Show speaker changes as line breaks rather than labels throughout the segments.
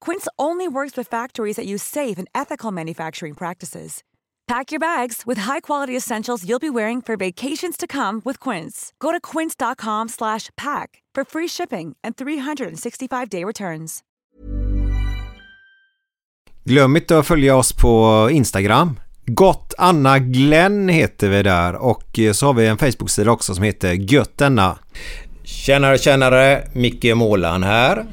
Quince only works with factories that use safe and ethical manufacturing practices. Pack your bags with high-quality essentials you'll be wearing for vacations to come with Quince. Go to quince.com slash pack for free shipping and 365-day returns.
Glöm inte att följa oss på Instagram. Gott Anna Glenn heter vi där och eh, så har vi en Facebook-sida också som heter Gött Anna.
Tjenare, tjenare! Micke Målan här.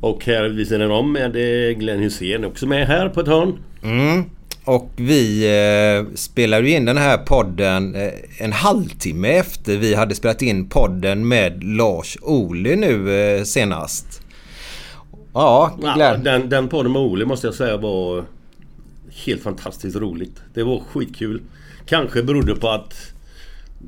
Och här vid sidan om är det Glenn Hussein också med här på ett hörn.
Mm. Och vi eh, spelade ju in den här podden eh, en halvtimme efter vi hade spelat in podden med Lars Ohly nu eh, senast. Ja,
Ja,
Glenn.
den, den podden med Ole måste jag säga var helt fantastiskt roligt. Det var skitkul. Kanske berodde på att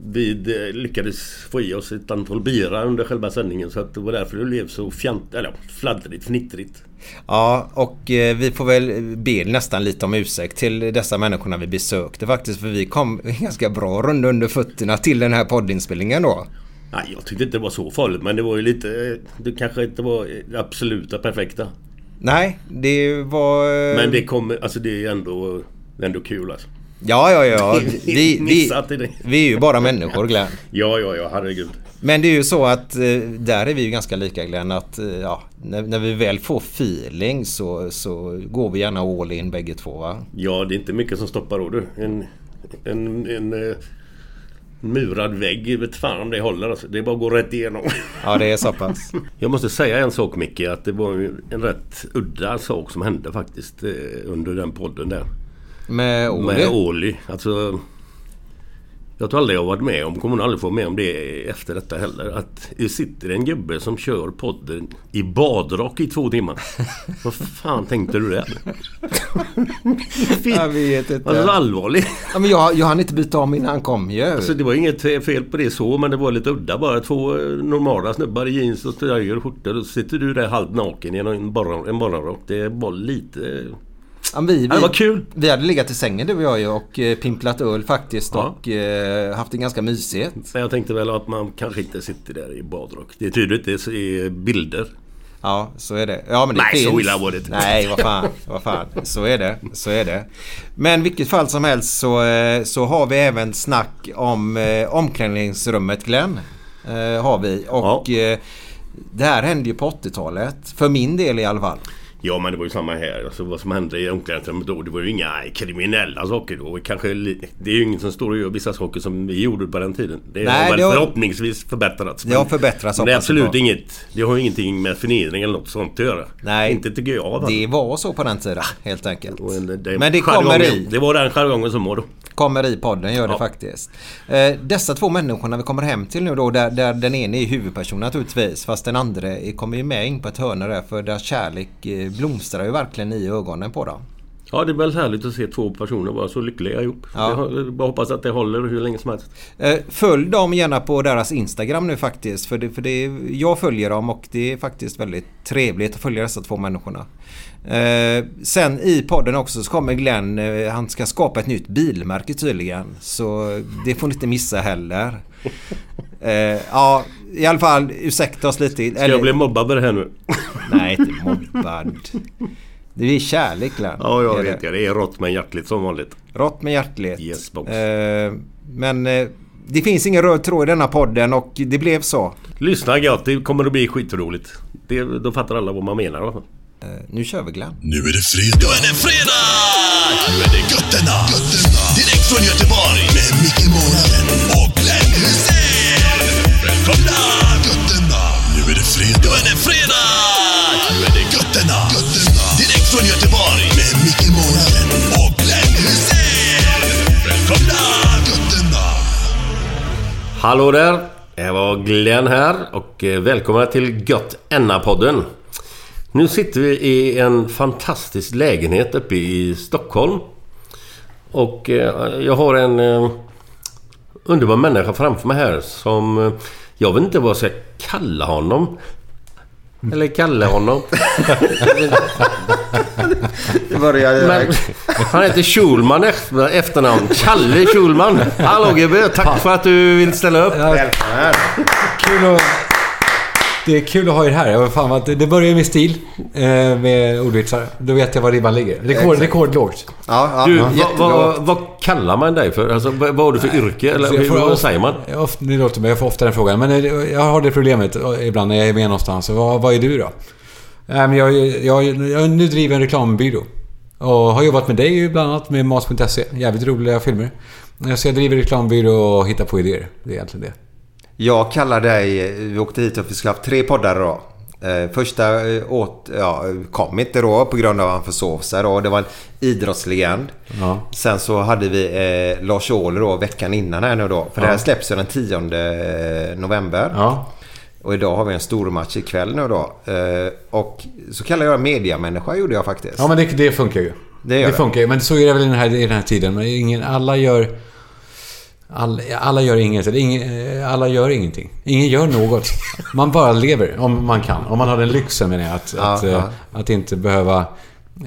vi eh, lyckades få i oss ett antal bira under själva sändningen så att det var därför det blev så fjant, eller, fladdrigt, fnittrigt.
Ja, och eh, vi får väl be nästan lite om ursäkt till dessa människorna vi besökte faktiskt. För vi kom ganska bra runda under fötterna till den här poddinspelningen då.
Nej, jag tyckte inte det var så farligt men det var ju lite... eh, Det kanske inte var eh, det absoluta perfekta.
Mm. Nej, det var... eh,
Men det kommer... Alltså det är ändå, det är ändå kul alltså.
Ja, ja, ja. Vi, vi,
Missat i det.
vi är ju bara människor, Glenn.
Ja, ja, ja, herregud.
Men det är ju så att eh, där är vi ju ganska lika Glenn att eh, ja, när, när vi väl får feeling så, så går vi gärna all in bägge två va?
Ja, det är inte mycket som stoppar då du. En, en, en eh, murad vägg, vet fan om det håller alltså. Det är bara att gå rätt igenom.
Ja det är så pass.
Jag måste säga en sak Micke, att det var ju en rätt udda sak som hände faktiskt eh, under den podden där. Med
Med Olle.
Åli. Alltså, jag tror aldrig jag har varit med om, kommer nog aldrig få vara med om det efter detta heller. Att det sitter en gubbe som kör podden i badrock i två timmar. Vad fan tänkte du där?
Jag vet inte.
Alltså allvarligt.
Ja, men jag, jag hann inte byta om innan han kom ju.
Alltså det var inget fel på det så men det var lite udda bara. Två eh, normala snubbar i jeans och tröjor och skjortor. Och så sitter du där halvt naken i en, morgon, en morgonrock. Det var lite...
Ja, men vi,
Ja, det var
vi,
kul!
vi hade legat i sängen du och jag ju och eh, pimplat öl faktiskt
Ja.
och eh, haft det ganska mysigt.
Men jag tänkte väl att man kanske inte sitter där i badrock. Det är tydligt, det är bilder.
Ja, så är det. Ja, men det
Nej,
finns.
så illa var det inte.
Nej, vad fan. Vad fan. Så är det. Så är det. Men vilket fall som helst så, eh, så har vi även snack om eh, omklädningsrummet Glenn. Eh, har vi. Och
Ja.
eh, det här hände ju på 80-talet. För min del i alla fall.
Ja men det var ju samma här. Alltså, vad som hände i omklädningsrummet då. Det var ju inga kriminella saker då. Kanske, li- det är ju ingen som står och gör vissa saker som vi gjorde på den tiden. Det
Nej,
har väl
det har-
förhoppningsvis förbättrats.
Det
men-
har förbättrats,
Men det är
hoppas jag
absolut
på.
inget. Det har ju ingenting med förnedring eller något sånt att göra.
Nej.
Inte tycker jag. Va?
Det var så på den tiden helt enkelt.
Och en-
Men det kommer
jargongen.
i.
Det var den jargongen som var då.
Kommer i podden gör det
Ja.
faktiskt. Eh, dessa två människorna vi kommer hem till nu då där, där den ene är huvudperson naturligtvis fast den andra är- kommer ju med in på ett hörn där för deras kärlek eh, blomstrar ju verkligen i ögonen på dem.
Ja, det är väl härligt att se två personer vara så lyckliga ihop.
Ja.
Jag ho- bara hoppas att det håller hur länge som helst.
Eh, Följ dem gärna på deras Instagram nu faktiskt. För, det, för det, jag följer dem och det är faktiskt väldigt trevligt att följa dessa två människorna. Eh, sen i podden också så kommer Glenn, eh, han ska skapa ett nytt bilmärke tydligen. Så det får ni inte missa heller. Eh, ja, i alla fall ursäkta oss lite.
Ska jag bli mobbad med det här nu?
Nej, inte mobbad. Det är kärlek Glenn.
Ja,
Det
jag
är
vet
det.
det. Det är rått men hjärtligt som vanligt.
Rått med hjärtligt.
Yes, box.
Eh, men eh, det finns ingen röd tråd i denna podden och det blev så.
Lyssna gött, det kommer att bli skitroligt. Det, då fattar alla vad man menar. Va?
Eh, Nu kör vi Glenn.
Nu är det fredag! Nu är det fredag! Nu är det götterna! götterna. Direkt från Göteborg! Med Micke Månaden och Glenn Hysén! Välkomna! Götterna! Nu är det fredag! Nu är det fredag! Nu är det götterna! götterna. Direkt från Göteborg! Med Micke Månaden och Glenn Hysén! Välkomna! Götterna!
Hallå där! Det var Glenn här och eh, välkomna till Gött Enna-podden. Nu sitter vi i en fantastisk lägenhet uppe i Stockholm. Och eh, jag har en eh, underbar människa framför mig här som... eh, Jag vet inte vad jag ska kalla honom. Eller kalla honom. Men, han heter Schulman efter- efternamn. Kalle Schulman. Hallå gubbe, tack för att du vill ställa upp.
Kul att, det är kul att ha er här. Jag var fan, vad- det börjar ju med stil, eh, med ordvitsar. Då vet jag var ribban ligger. Rekord, rekordlågt.
Ja,
Du,
ja,
vad,
jättebra.
vad, vad kallar man dig för? Alltså, vad, vad har du för yrke? Eller
Så jag
hur,
får
vad
ofta-
säger man?
jag ofta- Det låter, men jag får ofta den frågan. Men eh, jag har det problemet eh, ibland när jag är med någonstans. Så Vad, vad är du då? Nej, men jag, jag, jag, nu driver jag en reklambyrå. Och har jobbat med dig ju bland annat med Mat.se. Jävligt roliga filmer. Eh, Så jag driver reklambyrå och hittar på idéer. Det är egentligen det.
Jag kallar dig, vi åkte hit och vi skulle haft tre poddar idag. Eh, Första eh, åt, ja, kom inte då på grund av att han försov sig då. Det var en idrottslegend.
Ja.
Sen så hade vi eh, Lars Ohly då veckan innan här nu då. För det här släpps ju den 10 eh, november.
Ja.
Och idag har vi en stor match ikväll nu då. Eh, och så kallar jag mediamänniska gjorde jag faktiskt.
Ja, men det, det funkar ju.
Det gör det.
funkar ju. Men så är det väl i den här, i den här tiden. Men ingen, alla gör... All, alla gör inget. Eller ingen, eh, alla gör ingenting. Ingen gör något. Man bara lever, om man kan. Om man har den lyxen menar jag. Att, att,
Ja,
eh,
ja.
att inte behöva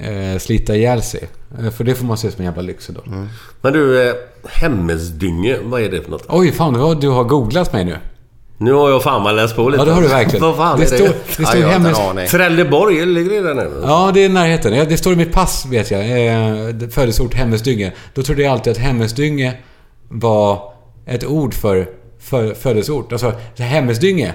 eh, slita ihjäl sig. Eh, För det får man se som en jävla lyx idag.
Men du, eh, Hemmesdynge, vad är det för något?
Oj, fan vad du har googlat mig nu.
Nu har jag fan vad läst på lite.
Ja, det har du verkligen.
vad fan
det
är
står,
det?
det står
Ja, jag har inte en
hemmes-
aning.
Trelleborg, ligger det där nere?
Ja, det är i närheten. Ja, Det står i mitt pass, vet jag. Eh, det- Födelseort Hemmesdynge. Då trodde jag alltid att Hemmesdynge var ett ord för, för födelseort. Alltså, Hemmesdynge.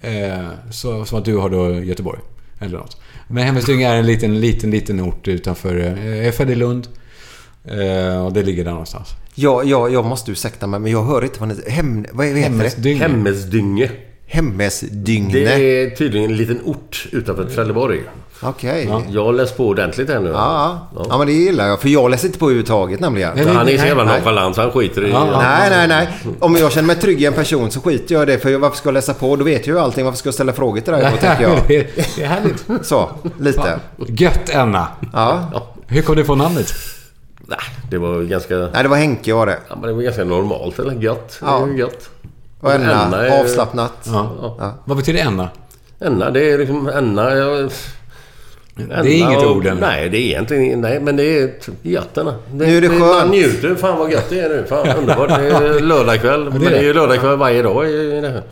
Eh, så, som att du har då Göteborg. Eller något. Men Hemmesdynge är en liten, liten, liten ort utanför... Eh, jag är född i Lund. Eh, och det ligger där någonstans.
Jag, jag, jag måste ursäkta mig men jag hör inte vad ni... Hem, vad heter det?
Hemmesdynge.
Hemmesdynge.
Hemmesdygne.
Det är tydligen en liten ort utanför Trelleborg.
Okej.
Jag har läst på ordentligt här nu.
Ja, ja. ja, men det gillar jag. För jag läser inte på överhuvudtaget nämligen.
Nej,
Han är så
Nej,
jävla
nej.
nonchalant så han skiter i...
Nej, nej, nej. Om jag känner mig trygg i en person så skiter jag i det. För varför ska jag läsa på? Då vet jag ju allting. Varför ska jag ställa frågor till dig då, tänker
det,
jag.
är, det är härligt.
Så, lite.
Gött, Enna.
Ja.
Hur kom du på namnet?
Nej, det var ganska...
Nej, det var Henke var det.
Ja, men det var ganska normalt eller gött.
Ja.
Det är gött.
Och
Enna
Enna,
är-
avslappnat.
Ja. Vad betyder Enna?
Enna, det är liksom Enna... Jag...
Det är inget ord ännu.
Nej, det är egentligen Nej, men det är t- gött Enna.
Nu är det
Man
skönt.
njuter. Fan vad gött det är nu. Fan underbart. Det är lördagkväll. Men det är ju lördagkväll varje dag. i- i det här.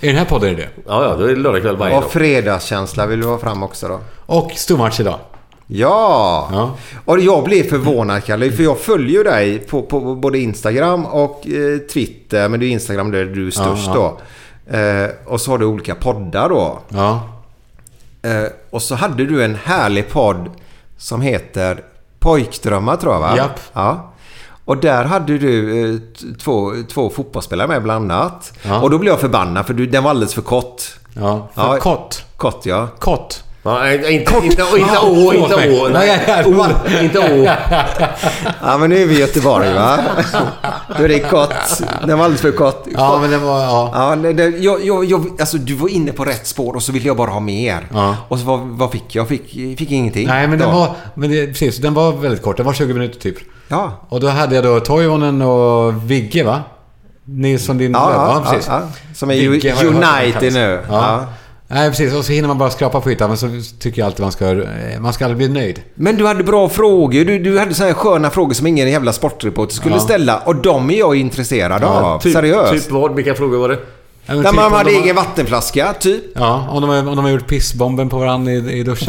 I den här podden är det.
Ja, ja, då är det lördagkväll varje dag.
Och fredagskänsla vill du ha fram också då.
Och stormatch idag.
Ja!
Ja.
Och jag blev förvånad Kalle, för jag följer ju dig på, på både Instagram och eh, Twitter. Men det är Instagram där du är störst då. Eh, och så har du olika poddar då.
Ja.
Eh, och så hade du en härlig podd som heter Pojkdrömmar tror jag va?
Japp.
Ja. Och där hade du eh, t- två, två fotbollsspelare med bland annat.
Ja.
Och då blev jag förbannad för du, den var alldeles för kort.
Ja, för kort.
Kort ja.
Kott.
Nej, inte Å, inte, inte
Ja,
Å,
förlåt
inte
mig.
Å. Nej,
Nej, jag-
O, inte Å.
Ja, men nu är vi i Göteborg va? Då är det kort. Den var alldeles för kort.
Ja, men det var... Ja.
Ja, nej, det, jag, jag, jag, alltså, du var inne på rätt spår och så ville jag bara ha mer.
Ja.
Och så vad, vad fick jag? Jag fick, fick ingenting.
Nej, men den
Då.
var... Men det, precis, den var väldigt kort. Den var 20 minuter typ.
Ja.
Och då hade jag då Toivonen och Vigge, va? Nilsson Lindelöf.
Ja,
Ja,
ja,
precis.
ja, ja. Som är
Vigge
ju-
har jag hört att han
United
kallas.
nu. Ja.
Ja. Nej, precis. Och så hinner man bara skrapa på ytan. Men så tycker jag alltid man ska... eh, Man ska aldrig bli nöjd.
Men du hade bra frågor. Du, du hade så här sköna frågor som ingen jävla sportreporter skulle ställa. Och de är jag intresserad av. Seriöst.
Typ vad? Vilka frågor var det?
Ja,
När
typ
man
om
hade
de har-
egen vattenflaska, typ.
Ja, om de, har, om de har gjort pissbomben på varandra i, i duschen.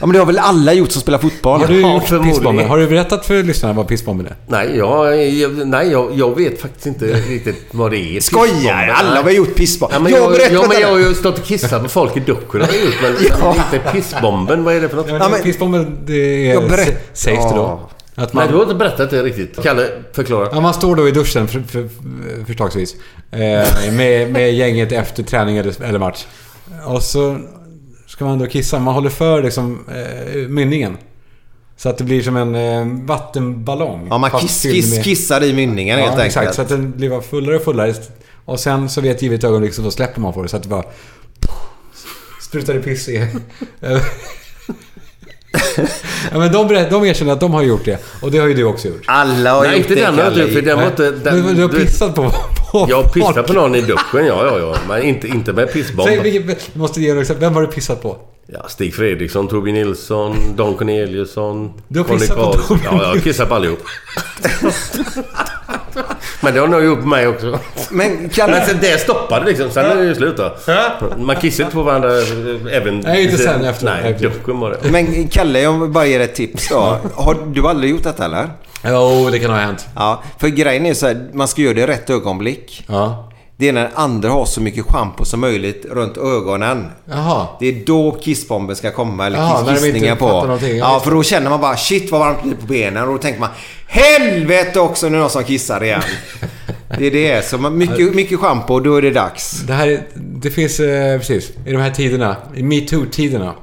Ja, men det har väl alla gjort som spelar fotboll?
Har du
Ja,
gjort
förmodligen.
pissbomben? Har du berättat för lyssnarna vad pissbomben är?
Nej, jag, jag, nej jag, jag vet faktiskt inte riktigt vad det är.
Skojar! Alla har väl gjort pissboll.
Ja, men
jag
jag,
har
jag,
berättat
men jag har
det.
ju stått och kissat på folk i duschen har jag gjort, men men inte pissbomben. Vad är det för något?
Ja,
men-
pissbomben, det är...
Jag berätt-
sä- Sägs det då.
Ja.
Att
Nej,
man,
du har inte berättat det riktigt. Kalle, förklara.
ja, man står då i duschen, för, för, för, förslagsvis, eh, med, med gänget efter träning eller, eller match. Och så ska man då kissa. Man håller för liksom, eh, mynningen. Så att det blir som en eh, vattenballong.
Ja, man
fast
kiss,
fylld
kiss,
med-
kissar i mynningen helt
Ja,
enkelt.
exakt. Så att den blir bara fullare och fullare. Och sen så vid ett givet ögonblick så då släpper man på det. Så att det bara... Sprutar det piss i... ja, men de, berätt- de erkänner att de har gjort det. Och det har ju du också gjort.
Alla har
Nej,
gjort
inte
det,
den har
Kalle.
du, för den var inte... Den,
du, du har
vet-
pissat på, på
Jag pissar
folk.
på någon i duschen, ja, ja, ja. Men inte, inte med pissbomb.
Säg, vilken, du måste ge några exempel. Vem har du pissat på?
Ja, Stig Fredriksson, Torbjörn Nilsson, Don Corneliusson...
Du har
Conny
pissat på
Karlsson.
Torbjörn
Ja, jag har kissat på allihop. Men det har nog gjort på mig också.
Men
Men
Kalle...
sen det stoppade liksom. Sen är det ju slut då. Man kissar inte på varandra eh, även...
Nej, inte sen efter.
Nej,
Nej, precis.
duschen var det.
Men Kalle, jag vill bara ge dig ett tips då. Har du aldrig gjort detta eller?
Jo, det kan ha hänt.
Ja, för grejen är så här, man ska göra det i rätt ögonblick.
Ja.
Det är när andra har så mycket schampo som möjligt runt ögonen.
Jaha.
Det är då kissbomben ska komma, eller
Jaha, när de
kiss,
inte
kissningen
fattar
på.
någonting. Ja,
Ja,
visst.
för då känner man bara shit vad varmt det blir på benen och då tänker man helvete också nu är det någon som kissar igen. det är det. Så man, mycket, mycket schampo, då är det dags.
Det här är, det finns, eh, precis, i de här tiderna, i metoo-tiderna.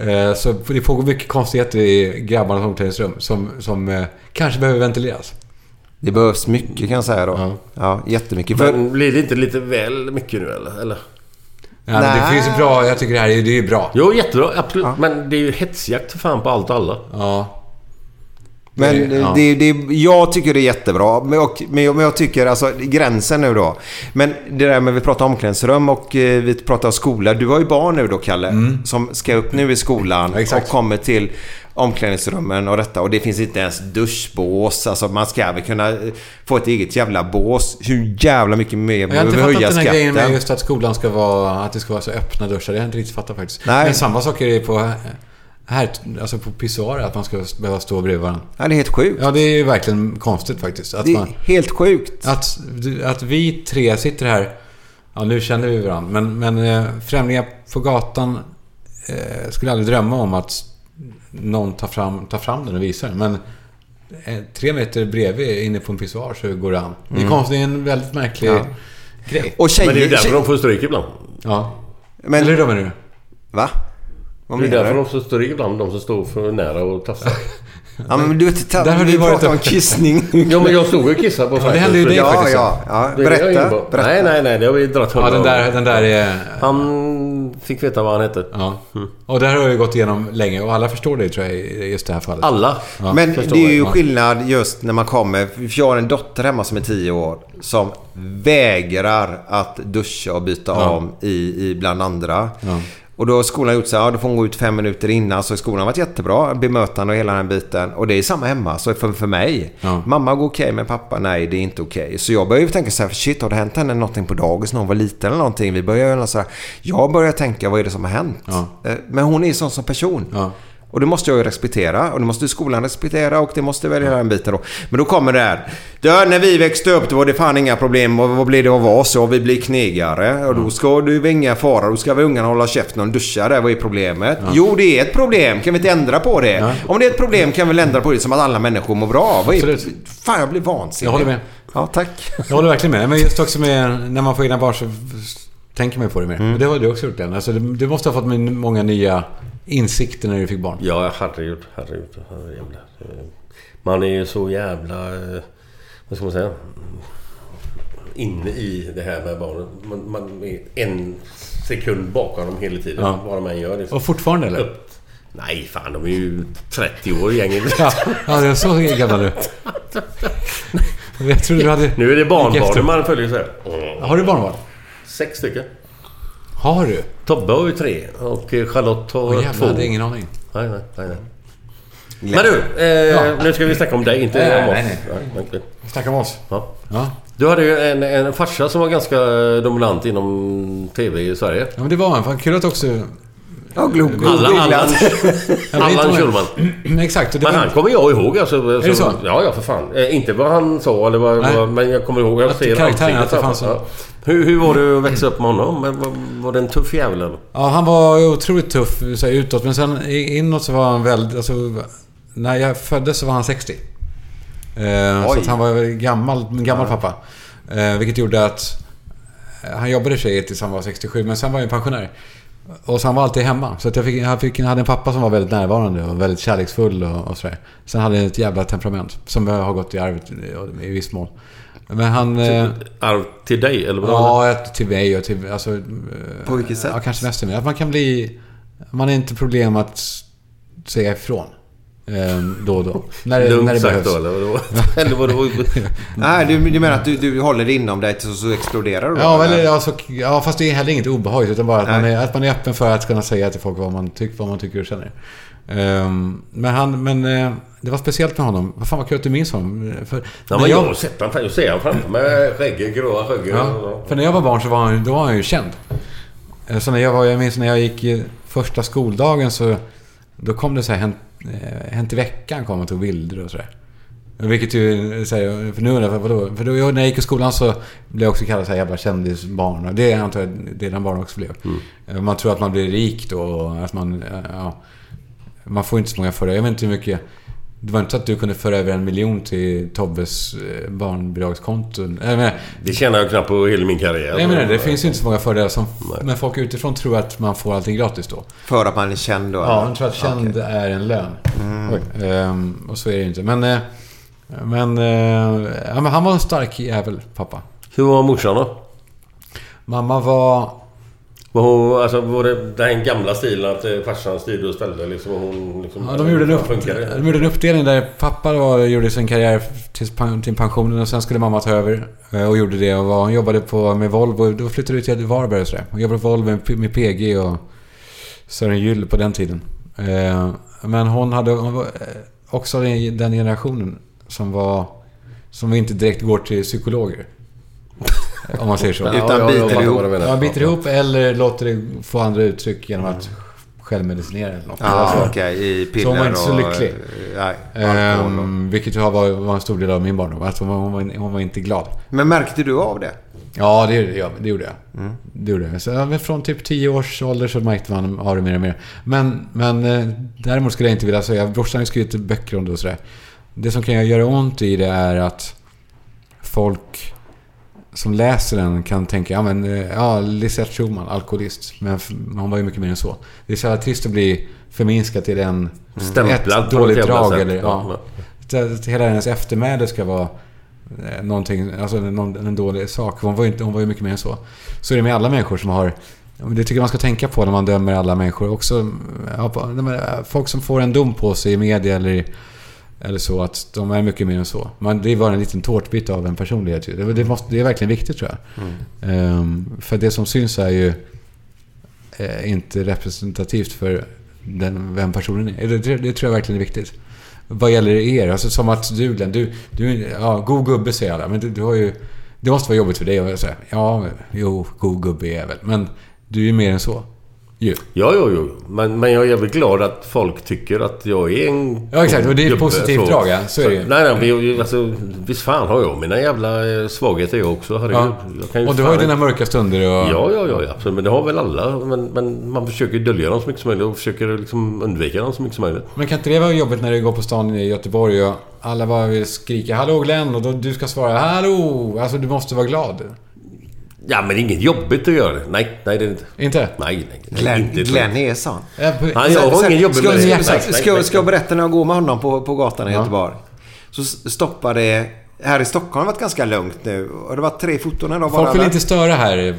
Eh, så det pågår mycket konstigheter i grabbarnas omklädningsrum som, som eh, kanske behöver ventileras.
Det behövs mycket kan jag säga då. Ja, jättemycket. För,
Men blir det inte lite väl mycket nu eller? eller?
Ja, men det
Nej.
finns ju bra, jag tycker det här är, det är ju bra.
Jo, jättebra. Absolut. Men det är ju hetsjakt för fan på allt och alla.
Ja.
Men
Det- ja.
det, det, jag tycker det är jättebra. Men jag, men jag, men jag tycker alltså gränsen nu då. Men det där med vi pratar omklädningsrum och eh, vi pratar skola. Du har ju barn nu då Kalle. Som ska upp nu i skolan
Mm. Ja, exakt.
och kommer till omklädningsrummen och detta. Och det finns inte ens duschbås. Alltså man ska väl kunna eh, få ett eget jävla bås. Hur jävla mycket mer
Jag har
behöver
inte
vi
fattat den här
höja
grejen med
skatten?
just att skolan ska vara, att det ska vara så öppna duschar. Det har jag inte riktigt fattat faktiskt.
Nej.
Men samma sak är det på, här, alltså på pissoarer, att man ska behöva stå bredvid varandra.
Ja, det är helt sjukt.
Ja, det är ju verkligen konstigt faktiskt. Att
Det
man,
är helt sjukt.
Att, att vi tre sitter här, ja nu känner vi varandra, men, men eh, Främlingar på gatan eh, skulle aldrig drömma om att någon tar fram, tar fram den och visar den. Men eh, tre meter bredvid inne på en pissoar så går det an.
Mm.
Det är konstigt, det är en väldigt märklig grej.
Och tjejer...
Men det är ju därför
tje-
de får stryk ibland.
Ja.
men-
Eller hur då menar du?
Va? Vad
Det är
menar
därför
du?
de får stryk ibland, de som står för nära och tafsar.
Ja, men du vet,
Där har
vi
du varit
pratar om
uppe.
kissning.
ja, men jag stod ju och kissade på Frankrike.
hände ju dig
Ja,
faktiskt.
ja, ja.
Det är det jag är inne
Berätta.
på.
berätta.
Nej, nej, nej. Det har vi dragit
Ja,
hundra
den där, den där är...
Han fick veta vad han hette.
Ja.
Mm.
Och det här har vi gått igenom länge och alla förstår det tror jag i just det här fallet.
Alla.
Men
förstår
det är ju
jag.
skillnad just när man kommer. För jag har en dotter hemma som är 10 år som vägrar att duscha och byta om i, i bland andra. Och då har skolan gjort så här, ja, då får hon gå ut fem minuter innan. Så skolan har varit jättebra, bemötande och hela den biten. Och det är samma hemma, så för, för mig.
Ja.
Mamma går okej, men pappa nej, det är inte okej. Så jag börjar ju tänka så här, shit har det hänt henne någonting på dagis när hon var liten eller någonting? Vi börjar göra så här, jag börjar tänka, vad är det som har hänt? Eh, Men hon är ju sån som person.
Ja.
Och det måste jag ju respektera och det måste ju skolan respektera och det måste väl hela den biten då. Men då kommer det här. Du, när vi växte upp då var det fan inga problem och vad blir det av oss? Och vi blir knegare
Mm.
och då ska du ju inga fara. Då ska vi ungarna hålla käften och duscha där. Vad är problemet? Jo, det är ett problem. Kan vi inte ändra på det? Om det är ett problem kan vi väl ändra på det som att alla människor mår bra? Vad är...
Absolut.
Fan, jag blir vansinnig.
Jag håller med.
Ja, tack.
Jag håller verkligen med. Men just också med när man får egna barn så f- tänker man ju på det mer. Och det har du också gjort Glenn. Alltså, du, du måste ha fått med många nya insikten när du fick barn?
Ja, herregud, herregud, herrejävlar. Eh, Man är ju så jävla... eh, Vad ska man säga? Inne i det här med barnen. Man, man är en sekund bakom dem hela tiden.
Ja.
Vad de än gör. Liksom.
Och fortfarande eller?
Upp. Nej, fan de är ju 30 år gänget.
Ja, ja det är så gammal du. Jag trodde du hade...
Nu är det
gick efter.
barnbarnen man följer så här.
Har du barnbarn?
Sex stycken.
Har du?
Tobbe har ju tre och eh, Charlotte har
Åh
två.
jävlar, jag hade ingen aning.
Nej, nej, nej. nej. Men du, eh, nu ska vi snacka om dig, inte
Nej,
om oss.
nej, nej.
okej.
Snacka med oss.
Ja.
Ja.
Du hade ju en, en farsa som var ganska eh, dominant inom TV i Sverige.
ja, men det var han. Fan, kul att också...
Ja, glöm
Allan, Allan,
Jag vet
Allan
inte om
Schulman.
jag- Exakt. Och det
Men
var-
han kommer jag ihåg alltså. Är
det så?
Ja, ja för fan. Eh, inte vad han sa eller vad,
Nej.
vad men jag kommer ihåg. Jag
Att
ser
karaktären,
ansiktet
att det
så här,
fanns
ja.
en-
hur, hur var det att växa upp med honom? Men Var, var det en tuff jävel eller?
Ja, han var otroligt tuff så här, utåt. Men sen i- inåt så var han väldigt... Alltså, när jag föddes så var han 60. Eh, så
Oj.
att han var gammal, en gammal pappa. Eh, vilket gjorde att... eh, Han jobbade i och för sig tills han var 67, men sen var jag pensionär. Och så han var alltid hemma. Så att jag, fick, han fick, jag hade en pappa som var väldigt närvarande och väldigt kärleksfull och, och sådär. Sen hade han ett jävla temperament som har gått i arvet i- i viss mån. Men han... eh,
Typ Arv till dig eller? vad?
Ja, ett till mig och till... Alltså,
På vilket sätt?
Ja, kanske mest till mig. Att man kan bli... Man är inte problem att säga ifrån. ehm, Då och då. När, det-
Lugnt
när det
sagt
behövs.
då eller? vadå? Eller vadå?
Nej, du, du menar att du, du håller det inom dig tills så exploderar du? då,
Ja,
eller?
eller, alltså, ja, fast det är heller inget obehagligt. Utan bara att man,
Nej.
är, att man är öppen för att kunna säga till folk vad man, tyck, vad man tycker och känner. Ehm, men han, men eh, det var speciellt med honom. Vad fan vad kul att du minns honom. För,
Ja, men jag har sett honom. Jag ser honom framför mig. Skägget, gråa skägget.
Ja, för när jag var barn så var han, då var han ju känd. Eh, Så när jag, var, jag minns när jag gick i första skoldagen så... Då kom det så här Hänt, eh, hänt i veckan kom och tog bilder och sådär. Vilket ju... eh, Så här, för nu undrar jag, vadå? För då, jag- när jag gick i skolan så blev jag också kallad så här jävla kändisbarn. Och det antar jag det den barn också blev. Eh, Man tror att man blir rik då och att man... eh, Ja, man får inte så många fördelar. Jag vet inte hur mycket... Det var inte så att du kunde föra över en miljon till Tobbes eh, barnbidragskonto. Jag menar,
Det tjänar jag knappt på hela min karriär.
Nej, jag menar, det finns ju inte så många fördelar som... Men folk utifrån tror att man får allting gratis då.
För att man är känd då?
Ja,
eller?
de tror att känd
Okej.
är en lön. Oj. Ehm, och så är det ju inte. Men... eh, Men, eh, ja, men han var en stark jävel, pappa.
Hur var morsan då?
Mamma var...
Var, hon, alltså, var det den gamla stilen att eh, farsan styrde och ställde liksom? och Hon, liksom
Ja, de, gjorde en upp,
Funkar det?
de gjorde en uppdelning där pappa var, gjorde sin karriär till, till pensionen och sen skulle mamma ta över. eh, Och gjorde det. Och var, hon jobbade på, med Volvo. Då flyttade vi till Varberg och sådär. Hon jobbade på Volvo med, P- med PG och Sören Gyll på den tiden. Eh, Men hon hade hon var eh, också den den generationen som var... Som inte direkt går till psykologer. Om man säger så.
Utan biter
fattar
ihop.
vad du menar.
Man biter ihop eller låter det få andra uttryck genom att självmedicinera eller något. Alltså,
Ja, okej. I piller
Så hon var inte så
och,
lycklig.
eh, Nej, alkohol och-
Ehm, vilket har var, var en stor del av min barndom. Alltså hon, hon, var, hon var inte glad.
Men märkte du av det?
Ja, det, gjorde jag- det gjorde jag.
Mm.
Det gjorde jag. Så, ja, men från typ 10 års ålder så märkte man av det mer och mer. Men, men eh, däremot skulle jag inte vilja säga... Brorsan har ju skrivit böcker om det och sådär. Det som kan göra ont i det är att folk som läser den kan tänka ja men eh, ja, Lisette Schumann, alkoholist. Men f- hon var ju mycket mer än så. Det är så jävla trist att bli förminskad till en,
Stämplad
ett
på
dåligt
något jävla
drag.
sätt.
Eller, ja.
Ja.
Så att Hela hennes eftermäle ska vara eh, någonting, alltså någon, en dålig sak. Hon var, ju inte, hon var ju mycket mer än så. Så är det med alla människor som har... Det tycker jag man ska tänka på när man dömer alla människor. Också, mm, ja, på- när man- folk som får en dom på sig i media eller i eller så att de är mycket mer än så. Man, det var en liten tårtbit av en personlighet. ju. Det, det, måste, det är verkligen viktigt tror jag. Ehm, för det som syns är ju eh, inte representativt för den, vem personen är. Det, det, det tror jag verkligen är viktigt. Vad gäller er, alltså som att du Glenn, du, du ja, god gubbe säger alla, men du, du har ju... Det måste vara jobbigt för dig att säga, ja, jo, god gubbe är jag väl, men du är ju mer än så. Ju.
Ja, jo, jo. Men, men jag är jävligt glad att folk tycker att jag är en...
Ja, exakt. Och det är ett
gubbe,
positivt
så.
drag, ja. Så är det ju.
Nej, nej. men jag- Alltså, visst fan har jag mina jävla eh, svagheter jag också. Herregud.
Ja.
Jag kan
Och du har ju
fan
dina mörka stunder och...
Ja, ja, ja, ja. Absolut. Men det har väl alla. Men, men man försöker dölja dem så mycket som möjligt och försöker liksom undvika dem så mycket som möjligt.
Men kan inte det vara jobbigt när du går på stan i Göteborg och alla bara vill skrika “Hallå Glenn” och då du ska svara “Hallå”? Alltså du måste vara glad.
Ja, men det är inget jobbigt att göra det. Nej, nej det är det inte.
Inte?
Nej, nej. nej
Glenn,
inte.
Glenn är sån.
Eh, på-
Han, jag har
Sen-
ingen jobbig
ska,
med det.
ska,
Nej,
ska,
nej,
ska,
nej.
ska jag berätta när jag går med honom på, på gatan i Göteborg. Så s- stoppade... Här i Stockholm har det varit ganska lugnt nu. Och det var tre foton idag bara.
Folk vill
va?
inte störa här. eh,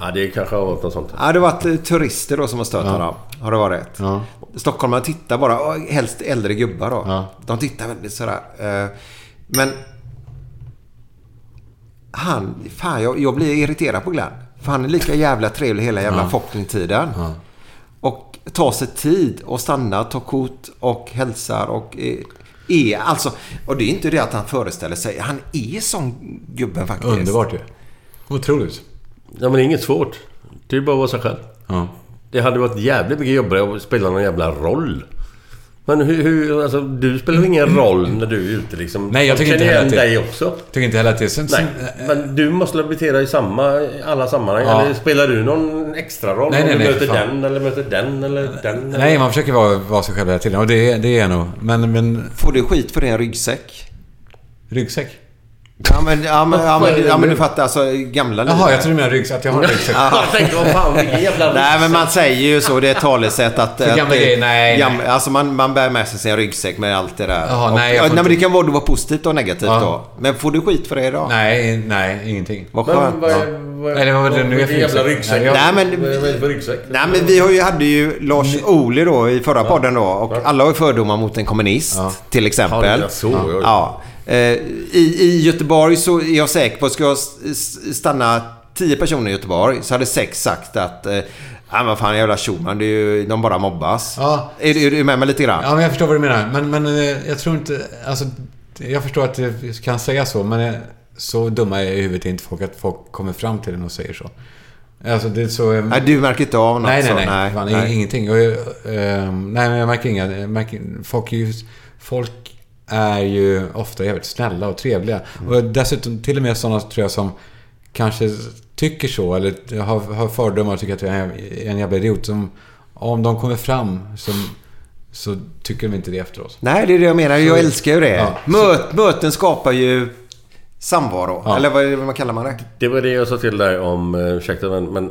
Ja, det kanske har varit något sånt.
Ja, det har varit eh, turister då som har stört honom. Har det varit.
Ja.
Stockholmarna tittar bara. och Helst äldre gubbar då.
Ja.
De tittar väldigt sådär. eh, Men... Han... Fan, jag, jag blir irriterad på Glenn. För han är lika jävla trevlig hela jävla Falklandtiden. Och tar sig tid och stannar, tar kort och hälsar och... eh, Är, alltså, och det är inte det att han föreställer sig. Han är sån gubben faktiskt.
Underbart ju. Otroligt.
Ja, men det är inget svårt. Det är bara att vara sig själv.
Ja.
Det hade varit jävligt mycket jobbigare att spela någon jävla roll. Men hur... hur alltså, du spelar väl ingen roll när du är ute liksom?
Nej, jag tycker
känner
inte heller
igen
att det-
dig också.
Tycker inte heller att det är... Sen,
Nej,
sen-
men du måste debitera i samma, i alla sammanhang.
Ja.
Eller spelar du någon extra roll?
Nej,
om
nej,
du
nej,
möter
för fan.
den eller möter den eller den?
nej,
eller?
man försöker vara, vara sig själv hela tiden. Och det, är- det är jag nog. Men, men...
Får du skit för din ryggsäck?
Ryggsäck?
Ja men, ja, men, ja, men, ja, men du fattar alltså gamla
Jaha,
livet.
jag tror du menar ryggsäck. Att jag har en ryggsäck.
Jag tänkte, vad fan vilken jävla...
Nej men man säger ju så. Det är ett talesätt att...
För
att
gamla
det-
grejer, nej,
gam-
nej.
Alltså man, man bär med sig sin ryggsäck med allt det där.
Jaha,
och,
nej, jag
ja,
får
nej men det
inte-
kan vara du var positivt och negativt
Ja.
då. Men får du skit för det idag?
Nej, nej, ingenting.
Vad skönt.
Men vad
ja.
är... Vad,
Eller vad var det nu
vilken
jag fick?
jävla ryggsäck?
Nej, jag-
Nej, men-
Vad är det för ryggsäck?
Nej men vi har ju, hade ju Lars Ohly då i förra podden då och alla har ju fördomar mot en kommunist till
Ja,
exempel.
det är så, ja.
ja. Eh, I, I Göteborg så är jag säker på att ska jag s- s- stanna 10 personer i Göteborg så hade sex sagt att eh, Nej men fan jävla Schulman, det är ju, de bara mobbas.
Ja.
Är, du- är du med mig lite grann?
Ja, men jag förstår vad du menar. Men, men eh, jag tror inte... Alltså, jag förstår att det kan säga så, men eh, så dumma är i huvudet inte folk att folk kommer fram till en och säger så. Alltså, det är så... eh,
Nej, du märker inte av något
Nej, nej,
så?
nej. Fan, nej. Ingenting. Och, eh, nej, men jag märker inga... Jag märker, folk, är ju, folk är ju ofta jävligt snälla och trevliga. Och dessutom till och med sådana tror jag som kanske tycker så eller har, har fördomar och tycker att jag är en jävla idiot. Som, om de kommer fram som, så tycker de inte det efteråt.
Nej, det är det jag menar. Jag
Så-
älskar ju det.
Ja.
Möt, möten skapar ju samvaro.
Ja.
Eller vad, är det- vad kallar man det?
Det var det jag sa till dig om, eh, ursäkta men, men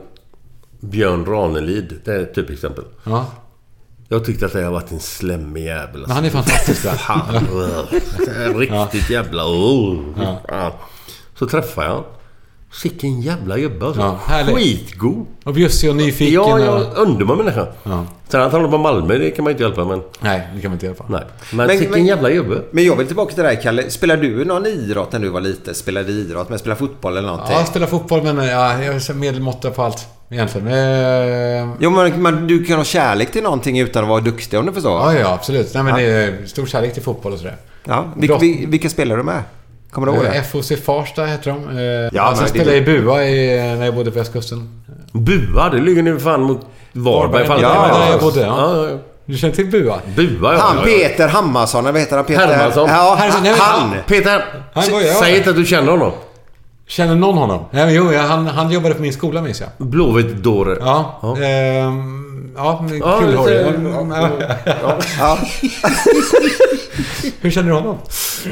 Björn Ranelid, det är ett typexempel.
Ja.
Jag tyckte att det har varit en slemmig jävel. alltså.
Men han är fantastisk där.
Fan, ugh. Riktigt jävla... ugh. Fan. Så träffar jag honom. Vilken jävla gubbe alltså.
Ja, härlig.
Skitgod.
Och bjussig och nyfiken.
Ja,
och,
jag underbar människa. Sen att han håller på Malmö, det kan man inte hjälpa men...
nej, det kan man inte hjälpa.
Nej. Men,
Men-
vilken
men-
jävla gubbe.
Men jag vill tillbaka till det här Kalle. Spelade du någon idrott när du var liten? Spelade du idrott? Men spelade fotboll eller någonting?
Ja, spela fotboll men ja, jag är så medelmåtta på allt egentligen. Eh,
Jo men, men du kan ha kärlek till någonting utan att vara duktig om du förstår.
Ja, ja, absolut. Nej, men det är stor kärlek till fotboll och sådär.
Ja. Vil,
Brott.
vil, vilka spelar du med? Kommer du ihåg
Eh,
det?
FOC Farsta heter de. Eh,
Ja,
alltså, jag
men det-
spelade i Bua i, när jag bodde på västkusten.
Bua, det ligger nu fan mot Varberg.
Varberg,
Fan,
ja,
det var-
där jag bodde, ja.
ja, ja.
Du känner till Bua?
Bua, ja.
Han
ja, ja.
Peter Hammarsson, eller vad heter han? Peter...
Hermansson.
Ja,
Hermansson, nej,
han.
men-
han.
Peter,
Han var jag.
säg inte att du känner honom.
Känner någon honom? Nej, men jo, jag, han, han jobbade på min skola minns jag.
Blåvitt-dåre.
Ja. Ja, ehm, ja med
Ja,
kul
lite-
hår.
ja.
Ja.
Hur känner du honom?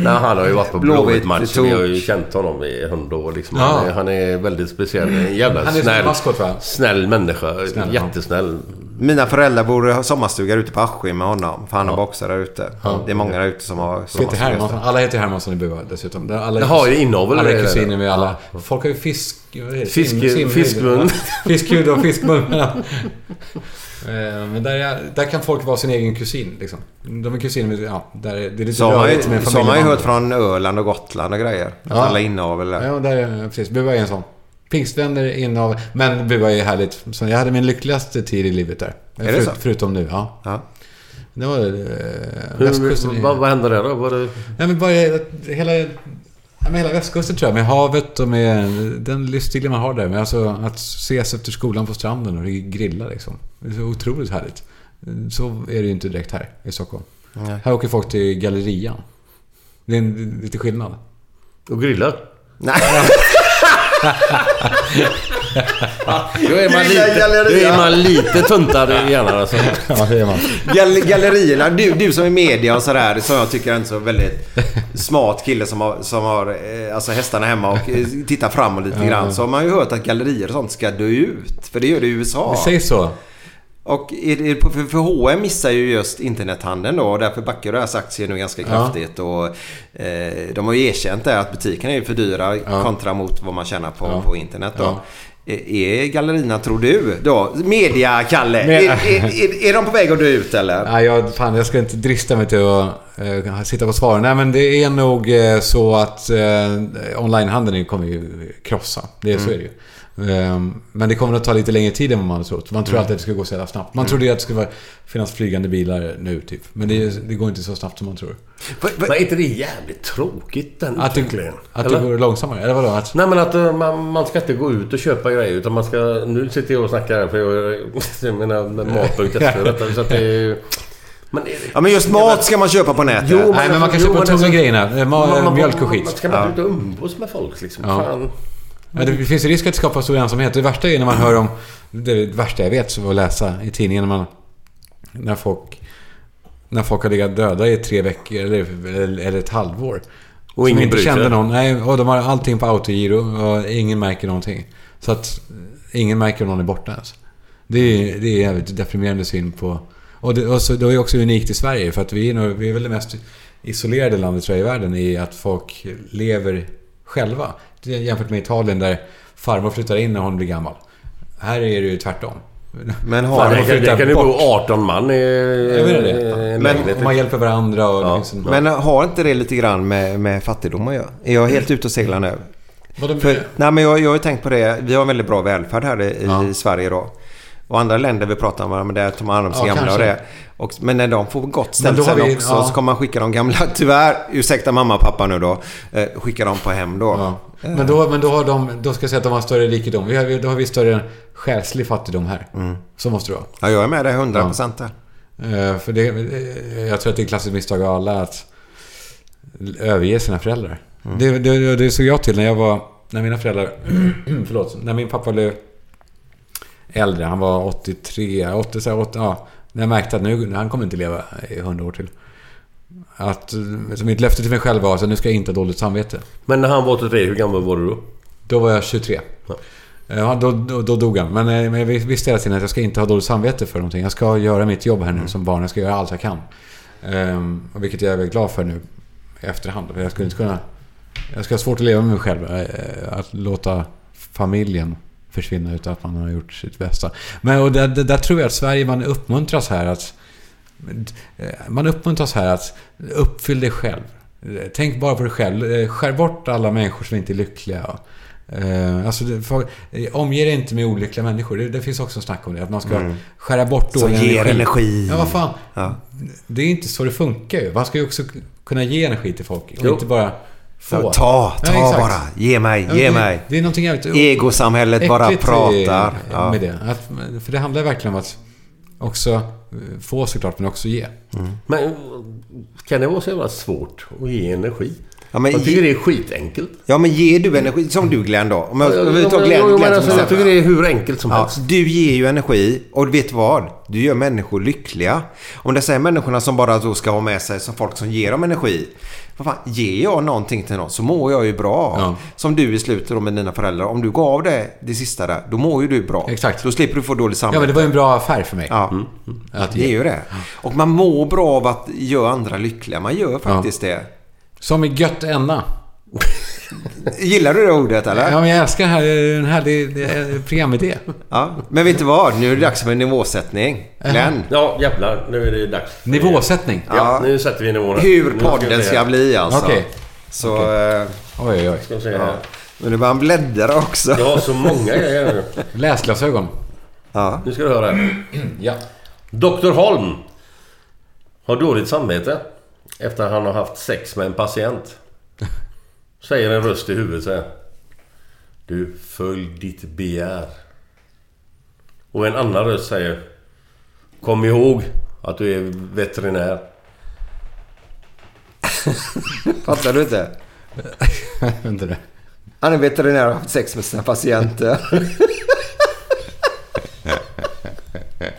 Nej, han har ju varit på
Blåvitt,
Blåvitt-matcher.
det
Vi
tog-
har ju känt honom i hundra år. Liksom.
Ja.
Han, är, han är väldigt speciell. En jävla
Han är som
snäll,
en maskot, va?
snäll människa.
Snäll, ja.
Jättesnäll.
Mina föräldrar bor i sommarstuga ute på Askim med honom. För han har boxar där ute. Det är många där ute som har
Peter
sommarstuga.
Hermansson. alltså, Alla heter Hermansson i Bua dessutom. Där Alla,
Jaha, det är inavel
Alla
det
är
där,
kusiner
eller?
med alla. Folk har ju fisk... vad heter det?
Fisk-
Sim- sim-
fiskmun.
Fiskhud och fiskmun. Ja. Eh, Men där, är, där kan folk vara sin egen kusin. Liksom. De är kusiner med... Ja, där är, det är lite
Så har man ju,
rörigt med
så har man ju
familjeband.
hört från Öland och Gotland och grejer. Att alla inavel där.
Ja, där är, precis. Bua är en sån. Pingstvänner är inavel. Men Bua är härligt. Så jag hade min lyckligaste tid i livet där.
Är det så?
Förutom nu, ja.
Ja.
Det var... Eh, västkusten.
Hur,
är-
vad, vad hände där då? Var det...
Nej, men bara hela, ja, men hela västkusten tror jag. Med havet och med den livsstilen man har där. Men alltså att ses efter skolan på stranden och grilla liksom. Det är så otroligt härligt. Så är det ju inte direkt här i Stockholm. Här åker folk till gallerian. Det är en, lite skillnad.
Och grilla?
Nej.
Då är man
Lilla
lite, då
galleria.
är man lite tuntare i hjärnan alltså.
Vad säger man?
Gall gallerierna, du, du som är media och sådär, som jag tycker är en så väldigt smart kille som har, som har eh, alltså hästarna hemma och eh, tittar framåt lite grann. Så har man ju hört att gallerier och sånt ska dö ut. För det gör det i USA.
Det sägs så.
Och är det, för, för H&M missar ju just internethandeln då och därför backar deras aktier nu ganska kraftigt. Och, eh, de har ju erkänt där att butikerna är ju för dyra kontra mot vad man tjänar på, på internet. Då. Är- Är gallerierna, tror du, då? Media-Kalle,
Men-
är, är, är, är de på väg att dö ut eller?
Nej, jag, fan, jag ska inte drista mig till att eh, sitta på svaren. Nej, men det är nog eh, så att eh, onlinehandeln kommer ju krossa. Det, Så
Mm.
är det ju. Ehm, men det kommer att ta lite längre tid än vad man har trott. Man
Mm.
tror alltid att det ska gå så jävla snabbt. Man trodde ju att det skulle vara- finnas flygande bilar nu, typ. Men det, det går inte så snabbt som man tror.
Men är inte det jävligt tråkigt den
Att det,
utvecklingen?
att det
Eller?
går långsammare? Eller vadå? Att,
Nej men att eh, man, man ska inte gå ut och köpa grejer utan man ska... Nu sitter jag och snackar här för jag, jag menar med mat.se och detta så att det är ju- Men är det...
Ja men just mat ska man köpa på nätet.
Jo,
Nej, men man kan
jo,
köpa
men
tunga
alltså-
grejerna. Eh, ma-
Man- man-
mjölk och
Man
skit.
ska bara ut och umgås med folk liksom.
Ja.
Fan.
Ja, det finns ju risk att det skapar stor ensamhet. Det värsta är när man hör om... Det, är det värsta jag vet så att läsa i tidningen när man... När folk... När folk har legat döda i tre veckor eller, eller, eller ett halvår. Som
Och ingen
inte
bryr sig.
kände någon. Nej, och de har allting på autogiro och ingen märker någonting. Så att ingen märker om någon är borta ens. Det är, det är jävligt deprimerande syn på... Och det, och så, det är också unikt i Sverige för att vi är, nog, vi är väl det mest isolerade landet tror jag, i världen i att folk lever själva. Det är Jämfört med Italien där farmor flyttar in när hon blir gammal. Här är det ju tvärtom.
Men
Fan,
har,
det, kan- det kan ju bo 18 man i...
Jag vet inte.
i
Men,
lägenheten.
och man hjälper varandra och liksom det finns en...
Eh, men eh, har inte det lite grann med, med fattigdom att göra? Är jag helt
Mm.
ute och seglar nu?
Vadå-
För, nej men jag, jag har ju tänkt på det. Vi har en väldigt bra välfärd här i, i Sverige då. Och andra länder vi pratar om, men där tar man hand om sina
Ja,
gamla och
kanske.
det. Och, men när de får gott
Men då
ställt
har
sen
vi-
också
ja.
så kommer man skicka de gamla, tyvärr, ursäkta mamma och pappa nu då. Eh, skicka dem på hem då.
Ja. Men, då, men då har de... Då ska jag säga att de har större rikedom. Vi har, vi- då har vi större själslig fattigdom här.
Mm.
Så måste det vara.
Ja, jag är med dig 100% där.
Eh, För det, eh, jag tror att det är ett klassiskt misstag av alla att överge sina föräldrar. Det, det, det såg jag till när jag var... När mina föräldrar... förlåt. När min pappa blev äldre. Han var 83, 80, så här, 80 ja. När jag märkte att nu, han kommer inte leva i 100 år till. Att, så mitt löfte till mig själv var att nu ska jag inte ha dåligt samvete.
Men när han var 83, hur gammal var du då?
Då var jag 23. Ja, då, då, då dog han. Men, eh, men jag visste hela tiden att jag ska inte ha dåligt samvete för någonting. Jag ska göra mitt jobb här nu som barn. Jag ska göra allt jag kan. Ehm, och vilket jag är väldigt glad för nu i efterhand. För jag skulle inte kunna... Jag ska ha svårt att leva med mig själv. eh, Att låta familjen försvinna utan att man har gjort sitt bästa. Men och där, där, där tror jag att Sverige, man uppmuntras här att... eh, Man uppmuntras här att uppfyll dig själv. Eh, Tänk bara på dig själv. Eh, Skär bort alla människor som inte är lyckliga. Eh, Alltså, det- folk- eh, omge dig inte med olyckliga människor. Det, det finns också snack om det. Att man ska skära bort
Mm. Som
dålig
ger energi.
Ja, vad fan.
Ja.
Det är inte så det funkar ju. Man ska ju också kunna ge energi till folk. Och
Jo.
inte bara få.
Så, ta,
Ja,
ta
exakt.
bara. Ge mig,
Ja,
ge
det,
mig.
Det är någonting jävligt
Egosamhället bara
äckligt i-
pratar. Ja.
Med det. Att, för det handlar verkligen om att också eh, få såklart, men också ge.
Men kan det vara så jävla svårt att ge energi?
Ja, men
jag tycker
ge-
det är skitenkelt.
Ja men ger du energi, som du Glenn då. Om jag, om vi tar
Jo,
Glenn,
men
Glenn
alltså,
som
jag tycker
exempel.
det är hur enkelt som
Ja,
helst.
du ger ju energi och vet du vad? Du gör människor lyckliga. Om det är människorna som bara då ska ha med sig som folk som ger dem energi. Vad fan, ger jag någonting till någon så mår jag ju bra.
Ja.
Som du i slutet då med dina föräldrar. Om du gav det det sista där, då mår ju du bra.
Exakt.
Då slipper du få dåligt
Ja, men
samvete.
det var Mm, ju en bra affär för mig.
Ja,
Att
det är
ge.
ju det. Och man mår bra av att göra andra lyckliga. Man gör faktiskt det.
Som i gött enna.
Gillar du det ordet eller?
Ja, men jag älskar den här, den här det, det, programidé.
Ja, men vet du vad? Nu är det dags för en nivåsättning. Glenn,
Ja, jävlar. Nu är det dags. för-
Nivåsättning.
Ja,
Ja.
nu sätter vi nivån. här.
hur
Nu ska vi
podden
se.
ska bli alltså.
Okej.
Så... eh,
Oj, oj, oj.
Ska vi se här.
Men nu börjar han bläddra också.
Jag har så många grejer nu.
Läsglasögon.
Ja.
Nu ska du höra. här.
Ja.
Dr Holm har dåligt samvete efter han har haft sex med en patient. Säger en röst i huvudet så här. Du, följ ditt begär. Och en annan röst säger. Kom ihåg att du är veterinär.
Fattar du inte?
Vänta nu.
Han är veterinär och har haft sex med sina patienter.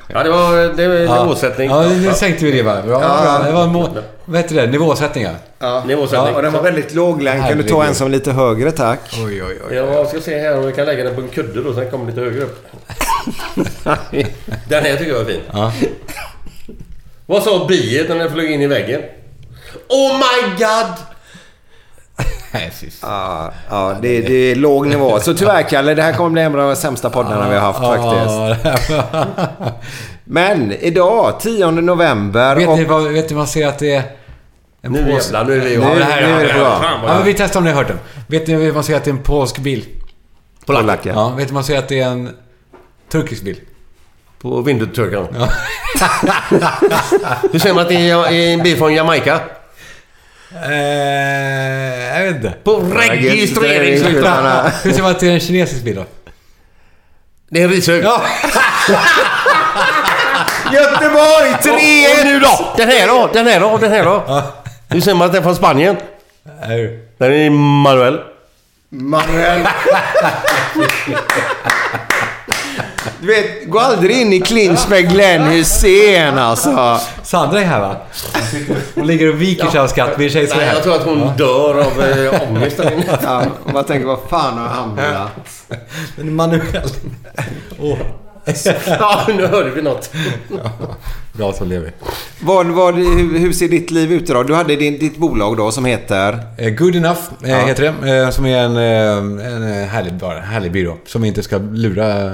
Ja, det var det var
Ja.
nivåsättning.
Ja, nu sänkte vi det va? Bra, bra. Det var en må- vad heter det? Nivåsättningar.
Ja.
Nivåsättning.
Ja, och den var väldigt låglänt. Kan du ta en som är lite högre tack?
Oj, oj, oj.
Jag ska se här om vi kan lägga den på en kudde då, sen kommer den lite högre upp. den här tycker jag är fin. Vad sa biet när den flög in i väggen? Oh my god!
Nej, fy fan.
Ja, ja det, det är låg nivå. Så tyvärr Kalle, det här kommer bli en av de sämsta poddarna vi har haft
Ah.
faktiskt.
Ja, det här var-
Men idag, 10 november.
Vet ni
Och,
vad vet ni vad man ser att det är? En
Nu
polsk-
jävlar, nu är vi igång.
Ja, det här
Nu är det
det här-
bra.
Fan, vad
Ja, men
det-
vi testar om ni har hört den. Vet ni vad man ser att det är en polsk bil?
Polacker.
Ja, vet ni vad man ser att det är en turkisk bil?
På vindruteturkan. Hur säger man att det är en bil från Jamaica?
Eh, jag vet inte.
På registreringsskyltarna.
Registreringsskyltarna.
Hur ser man att det är en kinesisk bil då?
Det är en rishög.
Ja.
Göteborg 3-1!
Och nu då? Den här då? Den här då? Den här då? Hur säger man att den är från Spanien?
Nej.
Den är i Manuel.
Manuel. Du vet, gå aldrig in i clinch med Glenn Hysén alltså.
Sandra är här va? Hon ligger och viker sig av skratt vid tjejs
Nej, jag tror att hon dör av eh, ångest där inne.
Ja, man tänker, vad fan har han hamnat?
Men Manuel. Åh,
Ja, nu hörde vi något.
Bra som lever.
Vad, vad, hur, hur ser ditt liv ut idag? Du hade din, ditt bolag då som heter?
Eh, Good Enough eh, heter det. eh, Som är en, eh, en eh, härlig, bara, härlig byrå. Som inte ska lura eh,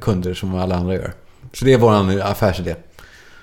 kunder som alla andra gör. Så det är vår affärsidé.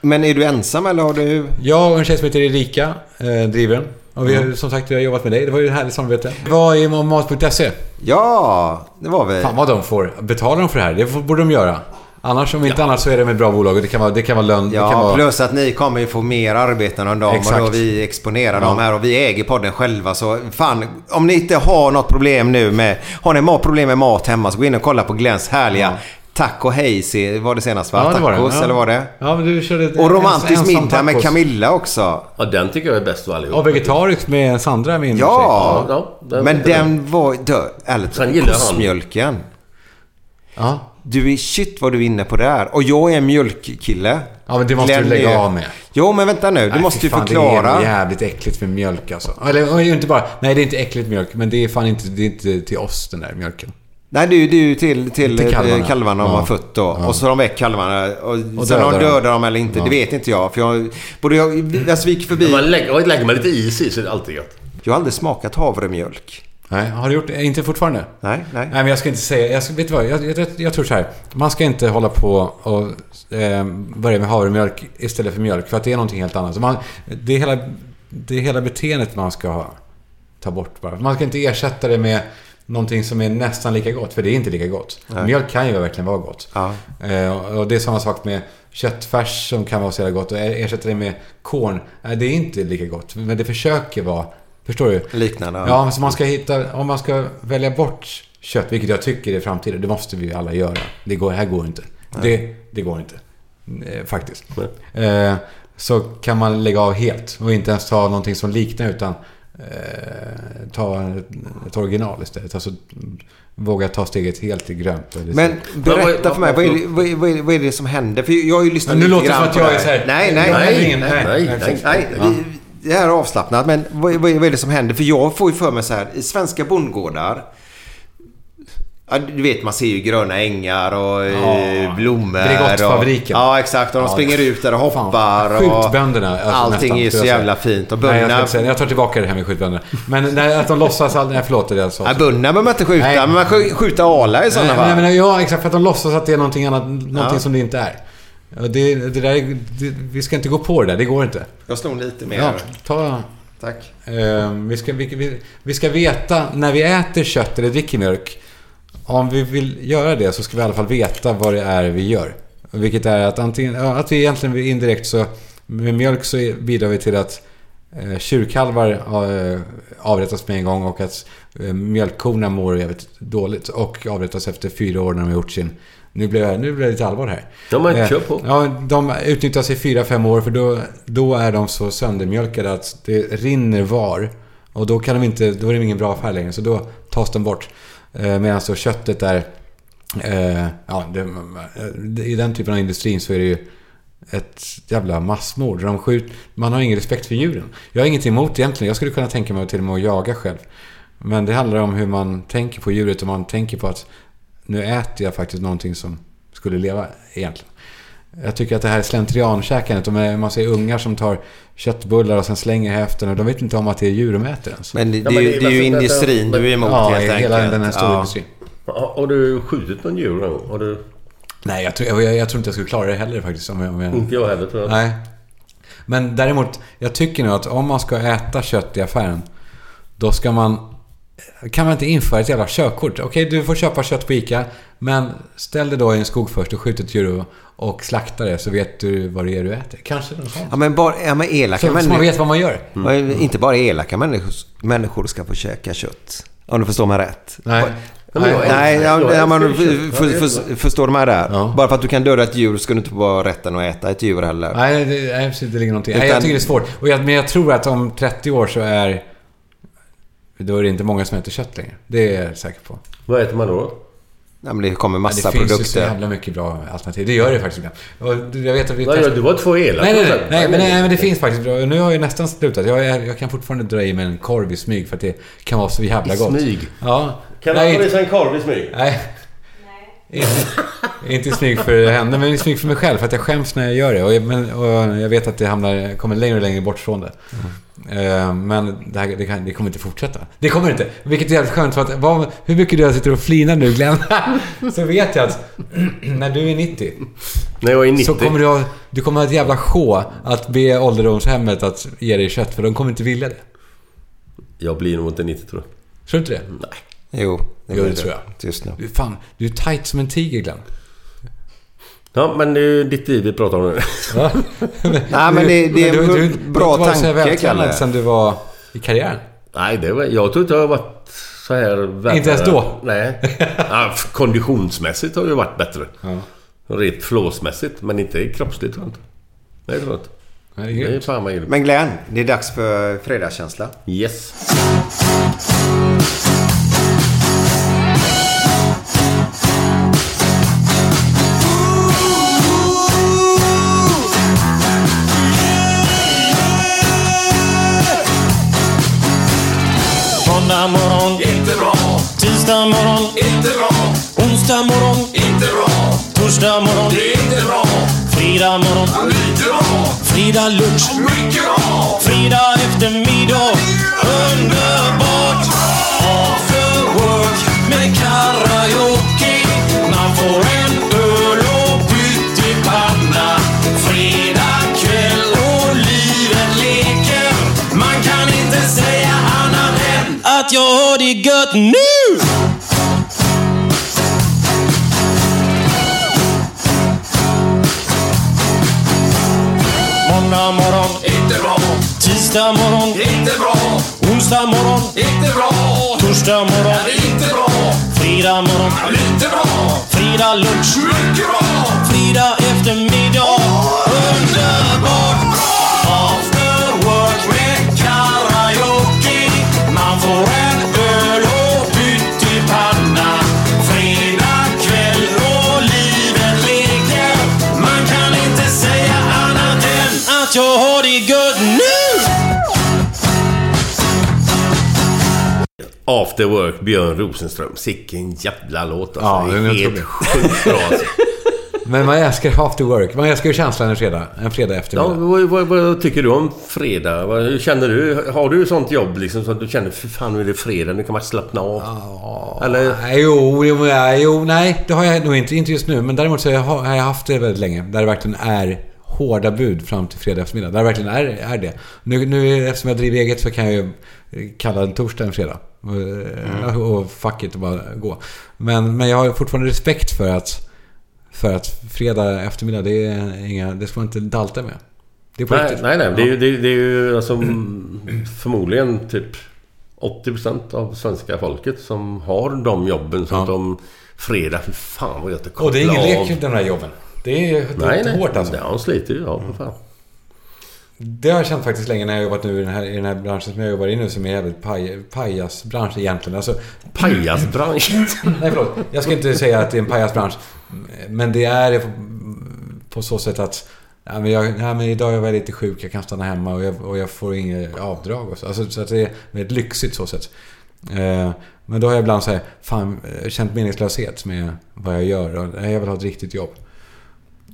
Men är du ensam eller har du...
Jag och en tjej som heter Erika eh, driver den. Och vi har
Mm.
som sagt vi har jobbat med dig. Det var ju ett härligt samarbete. Det var i mat.se.
Ja, det var vi.
Fan vad de får. Betalar de för det här? Det får- borde de göra. Annars, om inte annars så är det med bra bolag. Och det kan vara, det kan vara lön. det kan
Ja,
vara...
plus att ni kommer ju få mer arbeten än dem och
Exakt.
då vi exponerar dem här och vi äger podden själva så fan om ni inte har något problem nu med har ni ma- problem med mat hemma så gå in och kolla på Glens härliga Taco Hej se- var det senast va? Tacos
Ja.
eller var det?
Ja, men du körde ett-
Och romantisk
ens- ensam
middag med
tacos.
Camilla också.
Ja, den tycker jag är bäst av allihop.
Och vegetariskt med Sandra, min tjej.
Ja,
Ja, ja, den
men
vet jag.
den var... Dö, ärligt,
Sen gillar han-
pussmjölken.
Ja.
Du är shit vad du är inne på där. Och jag är en mjölkkille.
Ja, men det måste
Glenn
du lägga
är-
av med.
Jo, men vänta nu. Du
Nej,
måste
fy
ju
fan,
förklara.
Det är jävligt äckligt med mjölk alltså. Eller och inte bara... Nej, det är inte äckligt mjölk. Men det är fan inte, det är inte till oss den där mjölken.
Nej, det är ju- det är ju till, till,
Till
till
kalvarna.
kalvarna, kalvarna de
Ja.
har fött då.
Ja.
Och så har de väck kalvarna. Och,
Och
sen om de
dödar dem.
dödar dem eller inte, det vet inte jag. För jag... Både jag... Alltså, vi gick förbi...
Man lägger, lägger man lite is i så är det alltid gött.
Jag har aldrig smakat havremjölk.
Nej, har du gjort det? Inte fortfarande?
Nej, nej.
Nej, men jag ska inte säga... Jag ska, vet du vad? Jag, jag, jag tror så här. Man ska inte hålla på och eh, börja med havremjölk istället för mjölk. För att det är någonting helt annat. Så Man, det, är hela, det är hela beteendet man ska ha, ta bort bara. Man ska inte ersätta det med någonting som är nästan lika gott. För det är inte lika gott. Mjölk kan ju verkligen vara gott.
Ja.
Eh, och det är samma sak med köttfärs som kan vara så jävla gott. Och ersätta det med korn. Nej, det är inte lika gott. Men det försöker vara... Förstår du?
Liknande, ja.
Ja, men så Alltså, man ska hitta, om man ska välja bort kött, vilket jag tycker är framtiden, det måste vi alla göra. Det går, här går inte. Det, det går inte. Eh, Faktiskt. Eh, så kan man lägga av helt och inte ens ta någonting som liknar utan eh, ta ett original istället. Alltså våga ta steget helt till grönt. eller så.
Men berätta
vad- vad-
för mig, vad är, det, vad, är, vad, är, vad är det som händer? För jag har ju lyssnat
Men nu
lite
låter det
grann
som att jag
på det
är så här-
Nej, nej,
Nej,
nej.
ingen- nej,
nej,
nej,
nej.
nej. vi- Det här är avslappnat, men vad, är- vad, är, vad är det som händer? För jag får ju för mig så här, i svenska bondgårdar Ja, du vet, man ser ju gröna ängar och eh, blommor.
Bregottfabriken.
och- Ja, exakt. Och de
Ja,
springer
det-
ut där och hoppar.
Fan, alltså, Skjutbönderna.
Och, allting är ju så jävla fint. Och
bönderna... Nej, jag, ska
bönderna...
inte säga det. jag tar tillbaka det här med skjutbönderna. Men nej, att de låtsas aldrig... Nej, förlåt. Det är alltså.
Nej, bönderna behöver man inte skjuta,
Nej.
men man skj- skjuter ala i sådana
Nej,
fall.
men, men, ja, exakt. För att de låtsas att det är någonting annat, någonting som det inte är. Och Det, det där, är- det, vi ska inte gå på det där, det går inte.
Jag snor lite mer.
Ja, ta...
Tack.
Eh, vi, ska, vi, vi, vi ska veta när vi äter kött eller dricker mjölk. Om vi vill göra det så ska vi i alla fall veta vad det är vi gör. Vilket är att antingen, ja, att vi egentligen indirekt så med mjölk så bidrar vi till att eh, tjurkalvar eh, avrättas med en gång och att eh, mjölkkorna mår jävligt dåligt och avrättas efter fyra år när de har gjort sin... Nu blir jag, nu blir jag lite allvar här.
Ja, men
Eh,
kör på.
Ja, de utnyttjas i 4-5 år för då, då är de så söndermjölkade att det rinner var. Och då, kan de inte, då är det ingen bra affär längre, så då tas de bort. Eh, Medan så köttet är Eh, ja, det, I den typen av industrin så är det ju ett jävla massmord. De skjut, man har ingen respekt för djuren. Jag har inget emot egentligen. Jag skulle kunna tänka mig till och med att jaga själv. Men det handlar om hur man tänker på djuret och man tänker på att nu äter jag faktiskt någonting som skulle leva egentligen. Jag tycker att det här slentriankäkandet, de är en massa ungar som tar köttbullar och sen slänger häften och de vet inte om att det är djur de äter ens.
Men det,
Ja,
det, är
men
ju-
det är
det är ju
varför-
industrin
men-
du är emot
Ja,
helt enkelt.
hela den här stora
Ja.
industrin.
Har har du skjutit någon djur någon gång? Har du...
Nej, jag tror, jag, jag tror inte jag skulle klara det heller faktiskt. Om jag, om jag...
Mm.
Inte jag heller tror jag.
Nej. Men däremot, jag tycker nog att om man ska äta kött i affären, då ska man... Kan man inte införa ett jävla körkort? Okej, du får köpa kött på ICA, men ställ dig då i en skog först och skjut ett djur och, och slakta det så vet du vad det är du äter. Kanske något sånt.
Ja, men, bara, ja, men elaka
Så, så man vet vad man gör.
Mm. Inte bara elaka människor, människor ska få käka kött. Om du förstår mig rätt.
Nej.
Ja, men jag älskar-
Nej, ja,
jag
ja,
älskar
men,
ju kött.
för,
Ja, det är
för,
så.
för, förstår du mig där?
Ja.
Bara för att du kan döda ett djur så ska du inte vara rätten att äta ett djur heller.
Nej, det, nej, precis, det ligger någonting. Nej, jag
Utan-
tycker det är svårt. Och jag, men jag tror att om 30 år så är... Då är det inte många som äter kött längre. Det är jag säker på.
Vad äter man då?
Nej, men det kommer massa
det finns ju så
produkter.
jävla mycket bra alternativ. Det gör det faktiskt ibland. Och Jag vet att vi
Nej, du var två elaka.
Nej, nej, nej, nej, men, nej, men det finns faktiskt bra. Nu har jag ju nästan slutat. Jag, är- jag kan fortfarande dra i mig en korv i smyg för att det kan vara så jävla
I
gott.
smyg?
Ja.
Kan man
nej,
få i
inte,
sig en korv i smyg?
nej. Inte, inte i smyg för henne, men i smyg för mig själv. För att jag skäms när jag gör det. Och jag, men, och jag vet att det hamnar, kommer längre och längre bort från det. Eh, Men det, här, det, kan, det kommer inte fortsätta. Det kommer inte. Vilket är jävligt skönt. För att, vad, hur mycket du än sitter och flinar nu Glenn. så vet jag att när du är 90.
Nej, jag är 90.
Så kommer du ha, du kommer ha ett jävla sjå att be ålderdomshemmet att ge dig kött för de kommer inte vilja det.
Jag blir nog inte 90 tror jag.
Tror du inte
Jo,
det?
blir
Jo, det tror jag.
Just nu.
Du, fan, du är tight som en tiger Glenn.
Ja, men det är ju ditt liv vi pratar om nu.
Va?
Nej, men det- det är en bra
Du har inte
tanke,
varit så vältränad
Kalle.
sen du var i karriären.
Nej, det var, jag tror inte jag har varit så här värre.
Inte ens då?
Nej. Ja, f- konditionsmässigt har jag varit bättre. Rent flåsmässigt, men inte kroppsligt tror jag inte. Nej, det tror jag inte.
Ja, det är
Det är
grymt.
fan vad grymt.
Men Glenn, det är dags för fredagskänsla.
Yes.
Måndag morgon, inte bra. Tisdag morgon, inte bra. Onsdag morgon, inte bra. Torsdag morgon, det är inte bra. Fredag morgon, lite bra. Fredag lunch, mycket bra. Fredag eftermiddag, underbart. After work med karaoke. Man får en öl och pyttipanna. Fredag kväll och livet leker. Man kan inte säga annat än att jag har det gött nu! Måndag morgon, inte bra. Tisdag morgon, inte bra. Onsdag morgon, inte bra. Torsdag morgon, inte bra. Fredag morgon, inte bra. Fredag lunch, mycket bra. Fredag eftermiddag, underbart bra. After work med karaoke. Man får en öl och pyttipanna. Fredag kväll och livet leker. Man kan inte säga annat än att jag har det gött nu!
After Work, Björn Rosenström. Sicken jävla låt alltså.
Ja,
det
den
är
är
helt
otrolig.
sjukt bra alltså.
Men man älskar after work. Man älskar ju känslan en fredag, en fredag
Ja,
eftermiddag.
vad, vad, vad tycker du om fredag? Vad, hur känner du? Har du sånt jobb liksom så att du känner för fan nu är det fredag, nu kan man slappna av? Eller?
Nej, Jo, jo, nej, jo, nej, det har jag nog inte. Inte just nu. Men däremot så har jag, har jag haft det väldigt länge. Där det verkligen är hårda bud fram till fredag eftermiddag. Där det verkligen är, är det. Nu, nu eftersom jag driver eget så kan jag ju kalla en torsdag en fredag. Och-
Mm.
Och fuck it och bara gå. Men, men jag har ju fortfarande respekt för att, för att fredag eftermiddag, det, är inga, det ska man inte dalta med. Det är på
Nej,
riktigt.
nej, nej. Det är ju, det är, det är ju alltså, förmodligen typ 80% av svenska folket som har de jobben som
Ja.
de... Fredag, för fan vad gött att
Och det är ingen
koppla
lek
av.
de där jobben. Det är, det är
Nej, nej.
hårt alltså.
Ja, de sliter ju. Ja, för fan.
Det har jag känt faktiskt länge när jag har jobbat nu i den här, i den här branschen som jag jobbar i nu som är jävligt paj, pajasbransch egentligen. Alltså,
Pajasbranschen.
nej förlåt. Jag ska inte säga att det är en pajasbransch. Men det är det på, på så sätt att... Ja, men jag, nej, men idag är jag lite sjuk, jag kan stanna hemma och jag, och jag får inget avdrag. Och så. Alltså, så att det är väldigt lyxigt så sätt. Eh, men då har jag ibland så här, fan, eh, känt meningslöshet med vad jag gör. Och, nej, jag vill ha ett riktigt jobb.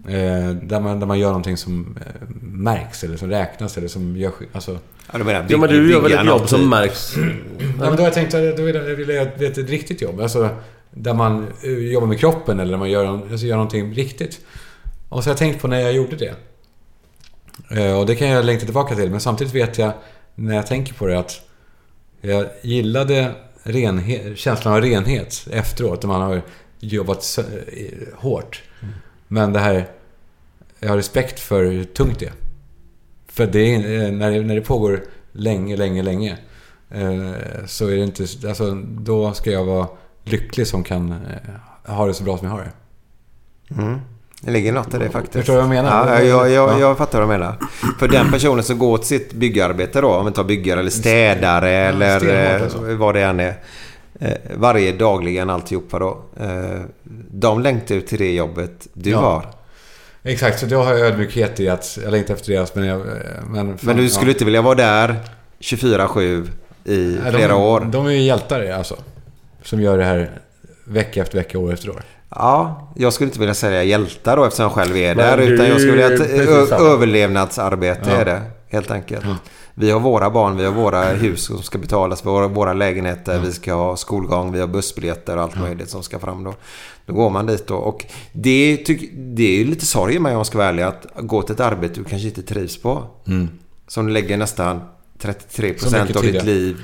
Eh, där, man, där man gör någonting som eh, märks eller som räknas eller som gör skill- alltså,
Ja, du menar,
Ja men du gör väl
bygga
ett
något
jobb som
i-
märks?
Ja, men då har jag tänkt att då vill jag vill jag att det är ett riktigt jobb. Alltså, där man eh, jobbar med kroppen eller där man gör, alltså, gör någonting riktigt. Och så har jag tänkt på när jag gjorde det. Eh, Och det kan jag längta tillbaka till. Men samtidigt vet jag, när jag tänker på det, att jag gillade renhe- känslan av renhet efteråt. När man har jobbat sö- eh, hårt. Men det här... Jag har respekt för hur tungt det är. För det är, eh, när, det, när det pågår länge, länge, länge. eh, Så är det inte... Alltså, då ska jag vara lycklig som kan eh, ha det så bra som jag har det.
Det ligger något i det faktiskt.
Förstår du vad jag menar?
Ja, jag, jag,
Ja.
jag fattar vad du menar. För den personen som går till sitt byggarbete då, om vi tar byggare eller städare eller
stenhårt
eh,
alltså.
vad det än är. eh, Varje dagligen alltihopa då. eh, De längtar ju till det jobbet du
Ja.
har.
Exakt, så då har jag ödmjukhet i att jag längtar efter deras, men jag... eh, Men, fan,
Men du
ja.
skulle inte vilja vara där 24-7 i
Nej, de-
flera år.
De är ju hjältar alltså. Som gör det här vecka efter vecka, år efter år.
Ja, jag skulle inte vilja säga hjältar då eftersom jag själv är där.
du
Utan jag skulle vilja
är
att
precis
ö-
samma.
överlevnadsarbete är det. Helt enkelt. Vi har våra barn, vi har våra
Mm.
hus som ska betalas, vi har våra lägenheter, vi ska ha skolgång, vi har bussbiljetter och allt möjligt som ska fram då. Då går man dit då. Och det, tyck, det är ju lite sorg med om jag ska vara ärlig, att gå till ett arbete du kanske inte trivs på. Som du lägger nästan 33%
Mm. mycket
av
tid,
ditt
ja.
liv.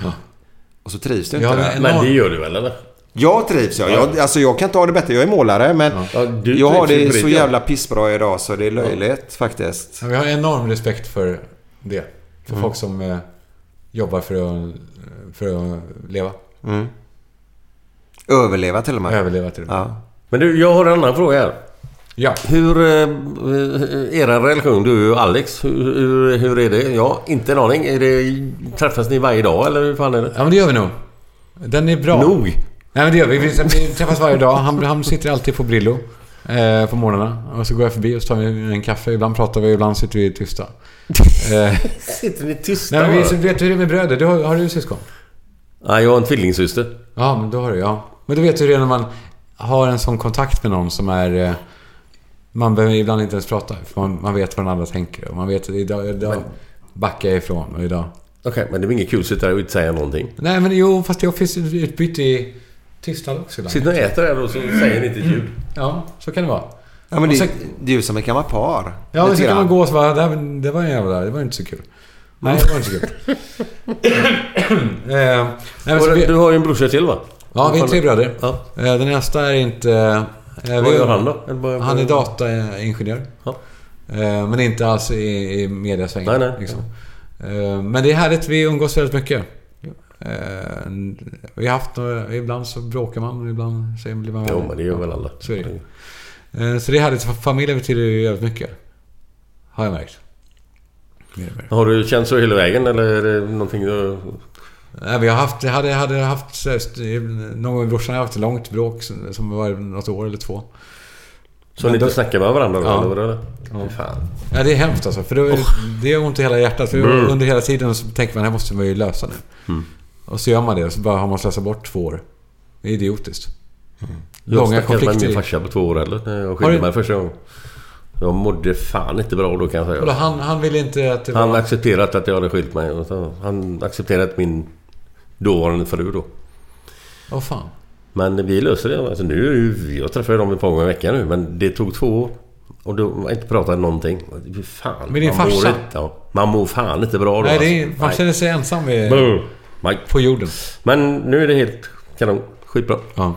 Och så trivs du inte
Ja,
där.
men-
Men det gör du väl eller?
Jag trivs jag. jag. Alltså jag kan inte ha det bättre. Jag är målare men
Ja, du
jag har
trivs ju
det
på
så
ditt
jävla pissbra idag så det är löjligt faktiskt.
Ja, Vi har enorm respekt för det. För
Mm.
folk som eh, jobbar för att, för att leva.
Överleva till och med.
Överleva till och med.
Ja.
Men du, jag har en annan fråga här.
Ja.
Hur... Eh, er relation, du och Alex, hur, hur, hur är det? Ja, inte en aning. Är det, träffas ni varje dag eller hur fan är det?
ja, men det gör vi nog. Den är bra.
Nog?
Nej, men det gör vi. Vi, vi träffas varje dag. Han, han sitter alltid på Brillo eh, på morgnarna. Och så går jag förbi och så tar vi en kaffe. Ibland pratar vi, ibland sitter vi tysta. Eh,
Sitter ni tysta
nej, men vi,
bara?
så vet du hur det är med bröder? Du har, har du syskon?
Nej, jag har en tvillingsyster.
Ja, men då har du, ja. Men då vet du redan när man har en sån kontakt med någon som är... eh, Man behöver ibland inte ens prata, för man, man vet vad den andra tänker. Och man vet att idag, idag backar jag ifrån och idag...
Okej, men det är inget kul att sitta där och inte säga någonting.
Nej, men jo, fast jag finns ett utbyte i tystnad också ibland.
Sitter ni och äter där och så säger ni inte ett
Mm.
ljud.
Ja, så kan det vara.
Ja, men
Och
det,
så-
det är ju som ett gammalt par.
Ja, men
Lite
så kan
grann.
man gå och så bara, "Det här- det var en jävla... Det var inte så kul. Nej, det var inte så kul. Eh, nej, men så
Och
vi,
Du har ju en brorsa till va?
ja, vi är tre bröder.
Ja.
Eh, Den nästa är inte... eh,
Vad
vi-
gör han då? Eller vad-
Han är dataingenjör.
Ja.
Eh, Men inte alls i, i mediasvängen. liksom.
Nej, nej.
Eh, Men det är härligt. Vi umgås väldigt mycket. Eh, Vi har haft några, Ibland så bråkar man och ibland så blir man
Jo,
vänner.
men det gör väl alla.
Så är det. Eh, Så det är härligt. Familjen betyder ju jävligt mycket. Har jag märkt. Mer och mer.
Har du känt så hela vägen eller är det någonting du...
Nej, Eh, vi har haft, jag hade, hade haft, så här, st- någon gång med brorsan har jag haft ett långt bråk som som var något år eller två.
Så ni
Men
inte
då-
snackar med varandra då?
Ja.
eller vad är det? Fy fan.
Ja, det är hemskt alltså. För då, det gör ont i hela hjärtat. För
Mm.
under hela tiden så tänker man, det här måste man ju lösa nu. Och så gör man det och så bara har man slösat bort två år. Det är idiotiskt.
Mm. Jag
Långa
snackade med min
konflikter.
farsa på två år eller? när Jag
Har du-
skilde mig första gången. Jag mådde fan inte bra då kan jag
Vadå,
säga.
Han, han ville inte att det var...
Han accepterat att jag hade skilt mig. och så- Han accepterat min dåvarande fru då.
Åh fan.
Men vi löser det. Alltså nu är ju, jag träffar ju dem ett par gånger i veckan nu men det tog två år. Och då har jag inte pratat någonting. Fy Fan,
Med din
man mår
farsa?
inte- ja, Man mår fan inte bra då
Nej, det är,
alltså.
man
Nej.
känner sig ensam i,
Brr. Nej.
på jorden.
Men nu är det helt kanon. Skitbra.
Ja.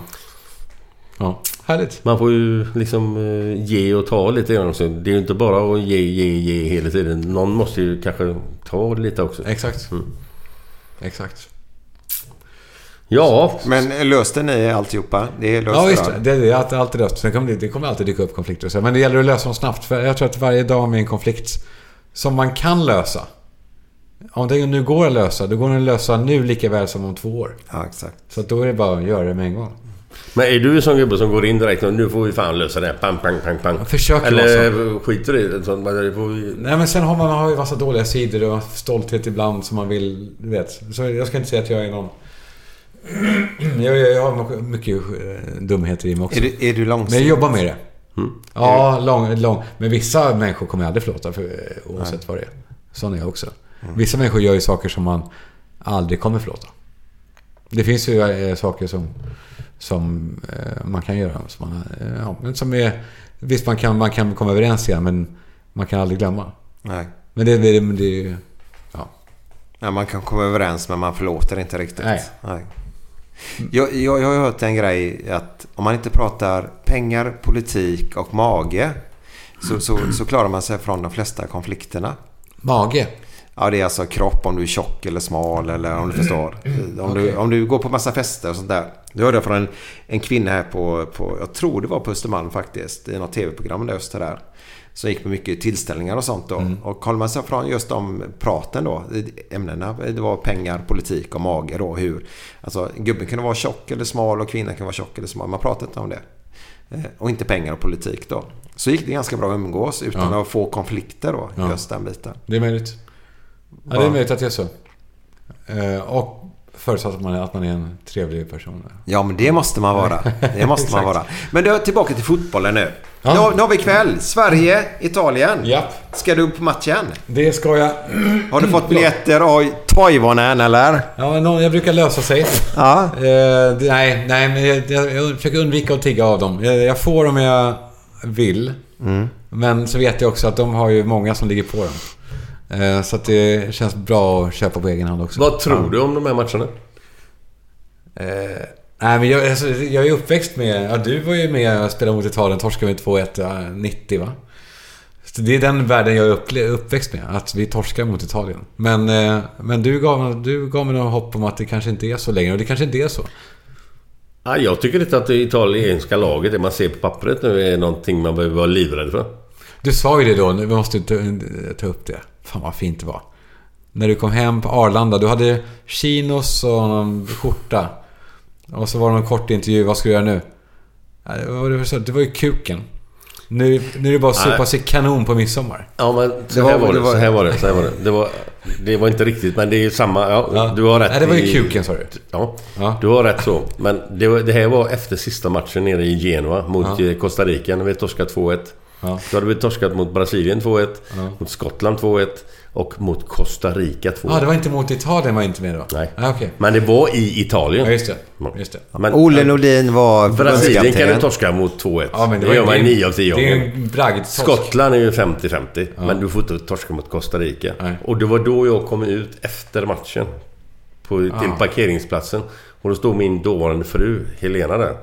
Ja, härligt.
Man får ju liksom eh, ge och ta lite grann också. Det är ju inte bara att ge, ge, ge hela tiden. Någon måste ju kanske ta lite också. Mm.
Exakt. Exakt.
Ja,
Men löste ni alltihopa? Det är löst
Ja, visst.
idag.
Det, det är alltid, alltid löst. Sen kommer det, det kommer alltid dyka upp konflikter och så. Men det gäller att lösa dem snabbt. För jag tror att varje dag med en konflikt som man kan lösa. Om det nu går att lösa, då går det att lösa nu lika väl som om två år.
Ja, exakt.
Så att då är det bara att göra det med en gång.
Men är du en sån gubbe som går in direkt och nu får vi fan lösa det här. Pang, pang, pang, pang.
Jag försöker
Eller skiter du i det? Sånt, men det får vi...
Nej men sen har man, man har ju massa dåliga sidor och stolthet ibland som man vill, du vet. Så jag ska inte säga att jag är någon... Jag, jag, jag har mycket eh, dumheter i mig också.
Är du, är du
Men
långsint?
jag jobbar med det. Ja, lång, lång. Men vissa människor kommer jag aldrig förlåta för, eh, oavsett vad det är. Sån är jag också. Vissa människor gör ju saker som man aldrig kommer förlåta. Det finns ju eh, saker som, som eh, man kan göra. Som man, eh, ja, men som är, visst, man kan, man kan komma överens igen, men man kan aldrig glömma.
Nej.
Men det, det, det är ju... Ja.
Nej, man kan komma överens men man förlåter inte riktigt.
Nej.
Jag, jag, jag har hört en grej att om man inte pratar pengar, politik och mage så, så, så klarar man sig från de flesta konflikterna.
Mage.
Ja, det är alltså kropp, om du är tjock eller smal eller om du förstår. Om, du, om du går på massa fester och sånt där. Jag hörde från en, en kvinna här på, på, jag tror det var på Östermalm faktiskt, i något tv-program där öster där. Som gick på mycket tillställningar och sånt då. Och håller man sig från just de praten då, i- ämnena. Det var pengar, politik och mage då. Hur, alltså gubben kunde vara tjock eller smal och kvinnan kunde vara tjock eller smal. Man pratade inte om det. Eh, Och inte pengar och politik då. Så gick det ganska bra att umgås utan att få konflikter då.
Ja.
Just den biten.
Det är möjligt. Ja, det är möjligt att det är så. Eh, Och förutsatt att man är, att man är en trevlig person.
Ja, men det måste man vara. Det måste man vara. Men du, tillbaka till fotbollen nu.
Ja.
Nu, har- nu har vi kväll. Sverige, Italien.
Japp.
Ska du på matchen?
Det ska jag...
Har du fått biljetter av Toivonen eller?
Ja, men någon, jag brukar lösa sig.
Ja.
Eh, det- nej, nej, men jag, jag, jag försöker undvika att tigga av dem. Jag, jag får om jag vill. Men så vet jag också att de har ju många som ligger på dem. Eh, så att det känns bra att köpa på egen hand också.
Vad tror du om de här matcherna?
Eh, Nej, men jag, alltså, jag är uppväxt med... Ja, du var ju med och spelade mot Italien. Torskade med 2-1 eh, 90, va? Så det är den världen jag är upple- uppväxt med. Att vi torskar mot Italien. Men, eh, men du, gav, du gav mig något hopp om att det kanske inte är så längre. Och det kanske inte är så.
Ja, jag tycker inte att det italienska laget, det man ser på pappret nu, är någonting man behöver vara livrädd för.
Du sa ju det då. Vi måste ta, ta upp det. Fan vad fint det var. När du kom hem på Arlanda. Du hade chinos och någon skjorta. Och så var det en kort intervju. Vad ska du göra nu? Ja, Det var, det var så- det var ju kuken. Nu, nu är det bara att supa
Nej.
sig kanon på midsommar.
Ja, men så
Det var-
här var
det
det.
var-
Så här var det. Så här var det. Det, var, det var inte riktigt, men det är samma. Ja,
Ja.
Du har rätt
Nej, det var ju
i-
kuken, sa du.
Ja,
Ja.
du har rätt så. Men det, var, det här var efter sista matchen nere i Genua mot eh, Costa Rica. När vi torskade 2-1.
Ja.
Då hade vi torskat mot Brasilien 2-1, mot Skottland 2-1 och mot Costa Rica 2-1.
Ja, ah, det var inte mot Italien var inte med då?
Nej. Mm.
Ah, okej.
Men det var i Italien.
Ja, just det. Just det.
Men,
Ole Nordin var
Brasilien kan du
förbundskapten.
torska mot 2-1.
Ja, men det
det,
var
gör
ju-
man
det är-
9 av 10
det är
gånger.
en bragdtorsk.
Skottland är ju 50-50. Men du får inte torska mot Costa Rica.
Nej.
Och det var då jag kom ut efter matchen. På, till
Ah.
parkeringsplatsen. Och då stod min dåvarande fru Helena där.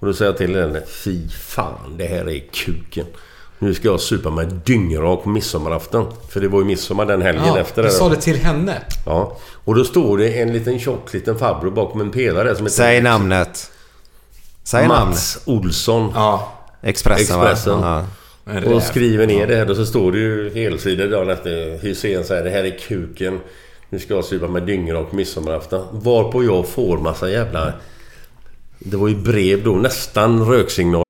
Och då säger jag till henne. Fy fan, det här är kuken. Nu ska jag supa mig dyngrak på midsommarafton. För det var ju midsommar den helgen
Ja,
efter.
du
det då.
sa det till henne?
Ja. Och då står det en liten tjock liten farbror bakom en pelare som heter...
Säg namnet. Säg namnet.
Mats Olsson.
Ja.
Expressen,
Expressen.
va?
En räv.
Och skriver ner det här och så står det ju helsidor dagen efter. Hysén säger det här är kuken. Nu ska jag supa med dyngrak midsommarafton. Varpå jag får massa jävla... Det var ju brev då, nästan röksignal.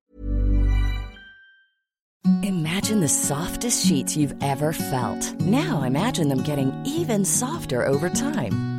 Imagine the softest sheets you've ever felt. Now imagine them getting even softer over time.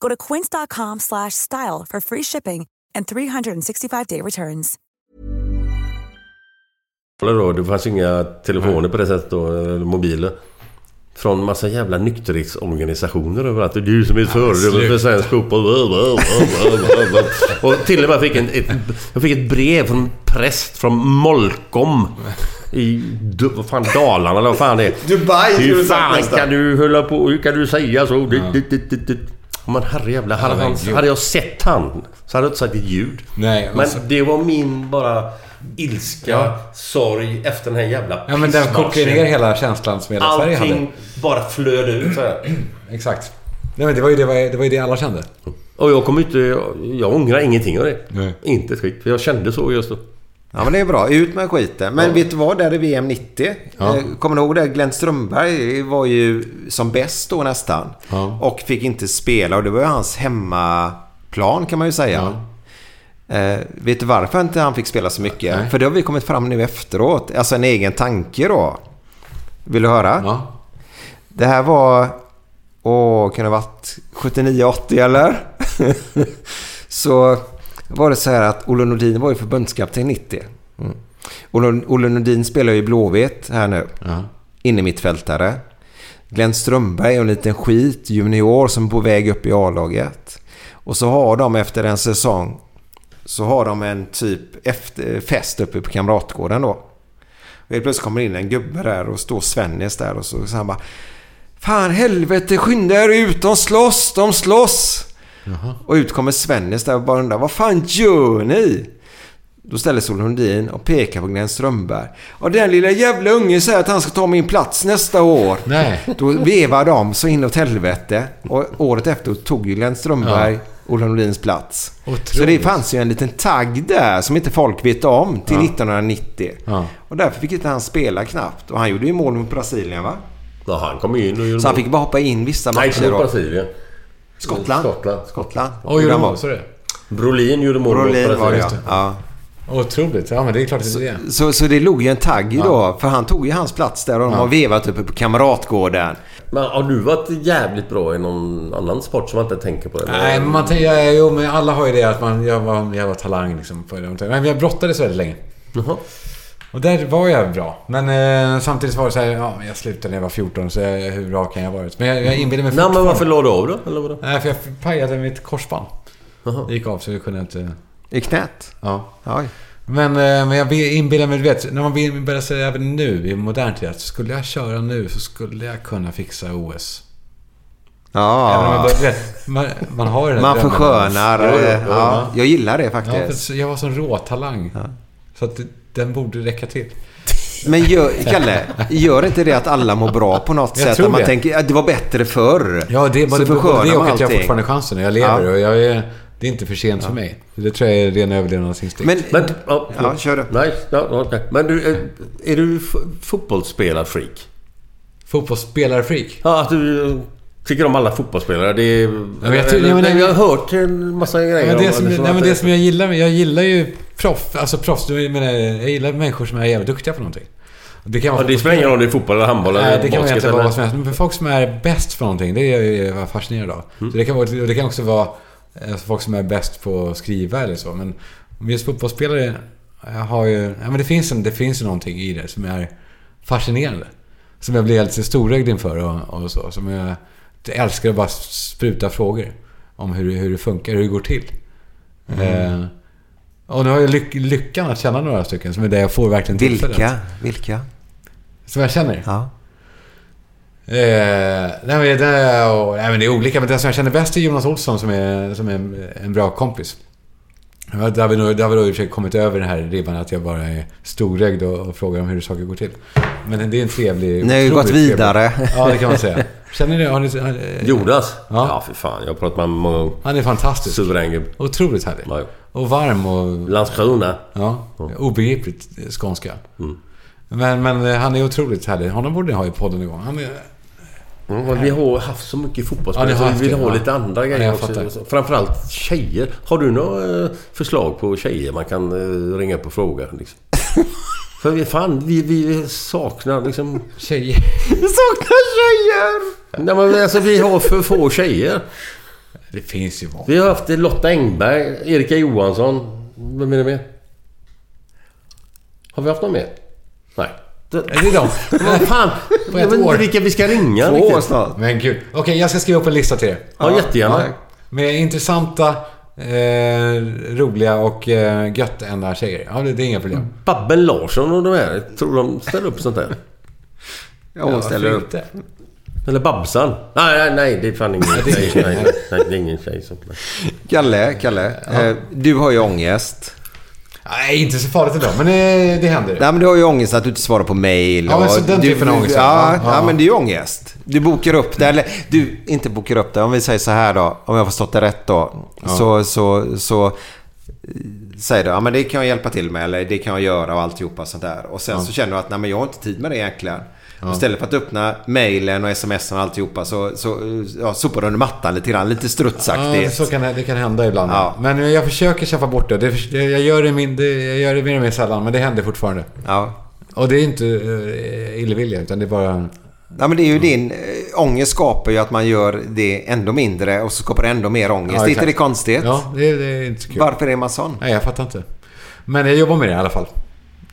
Go to quince.com slash style for free shipping and 365-day returns.
Då, det fanns inga telefoner på det sättet då, eller mobiler. Från massa jävla nykterhetsorganisationer överallt. Det är du som är ett föredöme för
sluta.
svensk fotboll. Och till och med fick en, ett, jag fick ett brev från en präst från Molkom. I, Du- vad fan, Dalarna eller vad fan det är.
Dubai skulle
Hur
du sagt
fan
nästan.
kan du hålla på? Hur kan du säga så? Du, du, du, du, du. Men herrejävlar, hade,
Ja,
han,
herregud.
hade jag sett han så hade jag inte sagt ett ljud.
Nej,
men
alltså.
det var min bara ilska, sorg efter den här jävla
Ja, men den kokar ju
pissmatchen.
ner hela känslan som hela Sverige hade.
Allting bara flöde ut så här.
Exakt. Nej, men det var ju det, det, var ju det alla kände.
Och jag kommer inte... Jag, jag ångrar ingenting av det. Inte ett skit. För jag kände så just då.
Ja men det är bra. Ut med skiten. Men
Ja.
vet du vad? Där är VM 90.
Ja.
Eh, Kommer du ihåg det? Glenn Strömberg var ju som bäst då nästan. Och fick inte spela och det var ju hans hemmaplan kan man ju säga. Eh, vet du varför inte han fick spela så mycket? För det har vi kommit fram nu efteråt. Alltså en egen tanke då. Vill du höra? Det här var... Åh, kan det ha varit 79-80 eller? så var det så här att Olle Nordin var ju förbundskapten 90. Mm. Olle, Olle Nordin spelar ju i Blåvitt här nu. Inne mittfältare. Glenn Strömberg är en liten skit junior som är på väg upp i A-laget. Och så har de efter en säsong så har de en typ efter, fest uppe på Kamratgården då. Och helt plötsligt kommer in en gubbe där och står Svennis där och så, så han bara Fan helvete skynda er ut, de slåss, de slåss! Och ut kommer Svennis där och bara undrar vad fan gör ni? Då ställer sig Olle Lundin och pekar på Glenn Strömberg. Och den lilla jävla ungen säger att han ska ta min plats nästa år.
Nej.
Då vevar de så inåt helvete. Och året efter tog ju Glenn Strömberg
Ja.
Olle Nordins plats.
Otroligt.
Så det fanns ju en liten tagg där som inte folk vet om till
Ja.
1990. Och därför fick inte han spela knappt. Och han gjorde ju mål mot Brasilien va?
Ja, han kom ju in och gjorde
Så han
mål.
fick bara hoppa in vissa
Nej,
matcher
inte mot
då.
Brasilien.
Skottland.
Skottland.
Skottland.
Och gjorde
han
mål,
mål.
så det.
Brolin gjorde mål mot
Brolin var det ja.
Brasilien.
ja.
Otroligt. Ja, men det är klart att det är det.
Så, så det låg ju en tagg
Ja.
då. För han tog ju hans plats där och de
Ja.
har vevat uppe på Kamratgården.
Men har du varit jävligt bra i någon annan sport som man inte tänker på? Eller?
Nej, men man tänker... ja, Jo, men alla har ju det att man... Jag var en jävla talang liksom. På det. Men jag brottades väldigt länge. Och där var jag bra. Men eh, samtidigt var det så här... Ja, jag slutade när jag var 14. Så jag, hur bra kan jag ha varit? Men jag, jag inbillar mig
Nej, men varför
fortfarande-
la du av då? Eller vadå?
Nej, för jag pajade mitt korsband. Det gick av så jag kunde inte...
I knät?
Ja.
Oj.
Men, eh, men jag inbillar mig, du vet, när man vill- börjar säga även nu i modern tid att skulle jag köra nu så skulle jag kunna fixa OS.
Ja.
Även om jag bara- du vet, man, man har den här
Man
drömmen.
förskönar.
Jo, jo,
eh,
jo.
Ja, jag gillar det
Ja, för
faktiskt.
så- jag var sån råtalang. Så att det- den borde räcka till.
Men gör, Kalle, gör inte det att alla mår bra på något
Jag
sätt?
tror
Att man
det.
tänker att det var bättre förr.
Ja, det är
Så
både, både
förskönar
det
man
och att jag
allting.
fortfarande har chansen. Jag lever
Ja.
och jag är, det är inte för sent för mig. Det tror jag är ren överlevnadsinstinkt.
Men-
Men, ja,
Ja, kör du.
Nej, ja, okej. Men du, är, är du f- fotbollsspelarfreak?
Fotbollsspelarfreak?
Ja, att du tycker om alla fotbollsspelare. Det är,
Ja, men jag tror- ja, men-
jag har hört en massa grejer
Ja, men
om
det, som,
liksom
nej, men
att-
det som jag gillar med... Jag gillar ju proff... Alltså proffs... Jag, menar, jag gillar människor som är jävligt duktiga på någonting. Det, kan
Ja,
vara
det spelar ingen roll om det är fotboll eller handboll
Nej,
eller
det kan
basket
man egentligen vara
eller-
vad som helst. Men för folk som är bäst på någonting, det är jag ju fascinerad av. Så det, kan, vara- och det kan också vara eh, folk som är bäst på att skriva eller så. Men just fotbollsspelare jag har ju... Ja, men det finns, en, det finns ju någonting i det som är fascinerande. Som jag blir helt storögd inför och, och så. Som jag, jag älskar att bara spruta frågor om hur, hur det funkar, hur det går till.
Mm.
Eh, och nu har jag lyck, lyckan att känna några stycken som är det jag får verkligen
Vilka? Vilka?
Som jag känner?
Ja.
Eh, nej, men det, och, nej, men det är olika, men den som jag känner bäst är Jonas Olsson som är, som är en, en bra kompis. Ja, Där har vi nog där har vi nog i och för sig kommit över den här ribban att jag bara är storögd och, och frågar om hur saker går till. Men det är en trevlig...
Ni har ju
otroligt
gått vidare.
Trevlig. Ja, det kan man säga. Känner ni det? Har ni, har,
Jonas? Ja. ja, för fan. Jag har pratat med honom många gånger.
Han är fantastisk.
Suverän gubbe.
Otroligt härlig. Och varm och...
Landskrona.
Ja, obegripligt eh, skånska.
Mm.
Men, men eh, han är otroligt härlig. Honom borde ni ha i podden igång. Han är...
Mm, men vi har haft så mycket
Ja, ni
fotbollsspelare
har
så vi vill
haft det,
ha
ja.
lite andra
Ja,
grejer
jag
också.
fattar.
Framförallt tjejer. Har du några eh, förslag på tjejer man kan eh, ringa upp och fråga? Liksom? För vi, fan, vi, vi saknar liksom...
Tjejer?
Vi saknar tjejer! Nej men alltså vi har för få tjejer.
Det finns ju många.
Vi har haft Lotta Engberg, Erika Johansson. Vem är det mer? Har vi haft någon mer? Nej. Det
är de.
Vad fan!
På
Jag
ett
vet inte
år.
vilka vi ska ringa
Två år
riktigt.
snart.
Men gud. Okej, jag ska skriva upp en lista till er.
Ja, jättegärna.
Med intressanta, eh, roliga och eh, gött ända tjejer. Ja, det, det är inga
Mm.
problem.
Babben Larsson och de här, tror de ställer upp sånt där?
Ja, hon ställer
varför
upp.
inte?
Eller Babsan? Nej, nej, nej, det är fan ingen
det är
tjej.
ingen
Nej, nej, nej, det är ingen tjej som...
Kalle, Kalle. Eh, du har ju ångest.
Nej, inte så farligt ändå. Men eh, det händer.
Nej men du har ju ångest att du inte svarar på mail.
Ja, men så den
du,
typen av ångest,
Ja,
ja.
ja.
Ja.
men det är ju ångest. Du bokar upp det. Eller du, inte bokar upp det. Om vi säger så här då. Om jag har förstått det rätt då. Så, så, så eh, säger du ja men det kan jag hjälpa till med. Eller det kan jag göra och alltihopa sånt där. Och sen så känner du att nej men jag har inte tid med det egentligen. Och Istället för att öppna mailen och sms och alltihopa så, så eh, ja, sopar du under mattan lite grann. Lite
Ja,
strutsaktigt.
så kan det, det kan hända ibland.
Ja.
Men eh, jag försöker kämpa bort det. det det- jag, gör det min, det. jag gör det mer och mer sällan, men det händer fortfarande.
Ja.
Och det är inte eh, illvilja, utan det är bara...
Ja men det är
Mm.
ju din... Äh, ångest skapar ju att man gör det ändå mindre och så skapar det ändå mer ångest. är inte
exakt.
det konstigt?
Ja, det, är- det är inte så kul.
Varför är man sån?
Nej, jag fattar inte. Men jag jobbar med det i alla fall.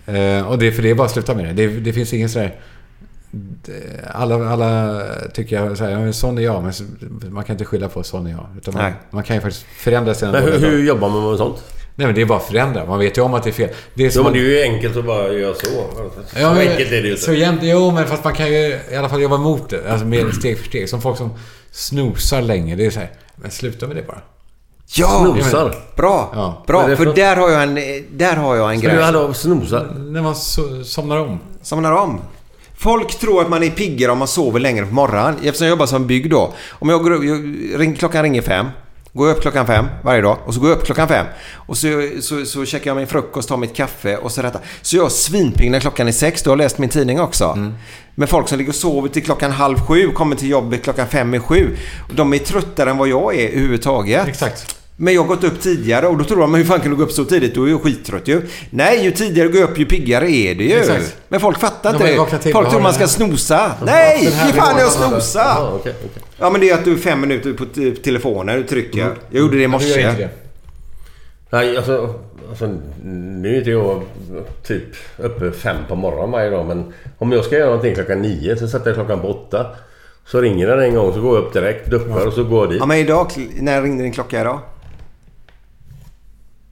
Eh, och det är för det är bara att sluta med det. Det, det finns ingen sådär... det- Alla, alla tycker jag så här, "Ja, men sån är jag, men så- man kan inte skylla på sån är jag. Utan man,
Nej.
man kan ju faktiskt förändra sina
Men hur,
dåliga drag.
hur jobbar man med sånt?
Nej men det är bara att förändra, man vet ju om att det är fel. Det är
Jo,
som
men
att-
det är ju enkelt att bara göra så. Så
Ja, men-
enkelt är det ju
Så
inte.
jämt, jo, men fast man kan ju i alla fall jobba mot det. Alltså med steg för steg. Som folk som snosar länge. Det är så här, men sluta med det bara.
Ja!
Snosar.
Bra!
Mm. Ja.
Bra!
Vad är det
För
för-
där har jag en, eh, där har jag en
Men du,
grej.
hallå, snosar?
När man so- somnar om.
Somnar om. Folk tror att man är piggare om man sover längre på morgonen. Eftersom jag jobbar som bygg då. Om jag går upp, jag, ring, klockan ringer fem. Går jag upp klockan fem varje dag och så går jag upp klockan fem. Och så, så, så käkar jag min frukost, tar mitt kaffe och så detta. Så jag är svinpigg när klockan är sex. Du har läst min tidning också. Men folk som ligger och sover till klockan halv sju, kommer till jobbet klockan fem i sju. Och De är tröttare än vad jag är överhuvudtaget.
Exakt.
Men jag har gått upp tidigare och då tror de, men hur fan kan du gå upp så tidigt? Du är ju skittrött ju. Nej, ju tidigare du går upp ju piggare är det ju.
Exakt.
Men folk fattar
De
inte
har
det.
vaknat till.
Folk
Vad
tror
har
man
det
ska
här?
snosa. Nej,
Den här
fy fan jag
nivån.
snosa.
Ja, okej, okej.
Ja men det är att du är fem minuter på t- telefonen och trycker. Jag gjorde det i
Du Mm. gör inte
morse.
det.
Nej, alltså, alltså... Nu är inte jag typ uppe fem på morgonen varje dag men... Om jag ska göra någonting klockan nio så sätter jag klockan på åtta. Så ringer den en gång så går jag upp direkt, duschar och så går jag dit.
Ja men idag, kl- när ringde din klocka idag?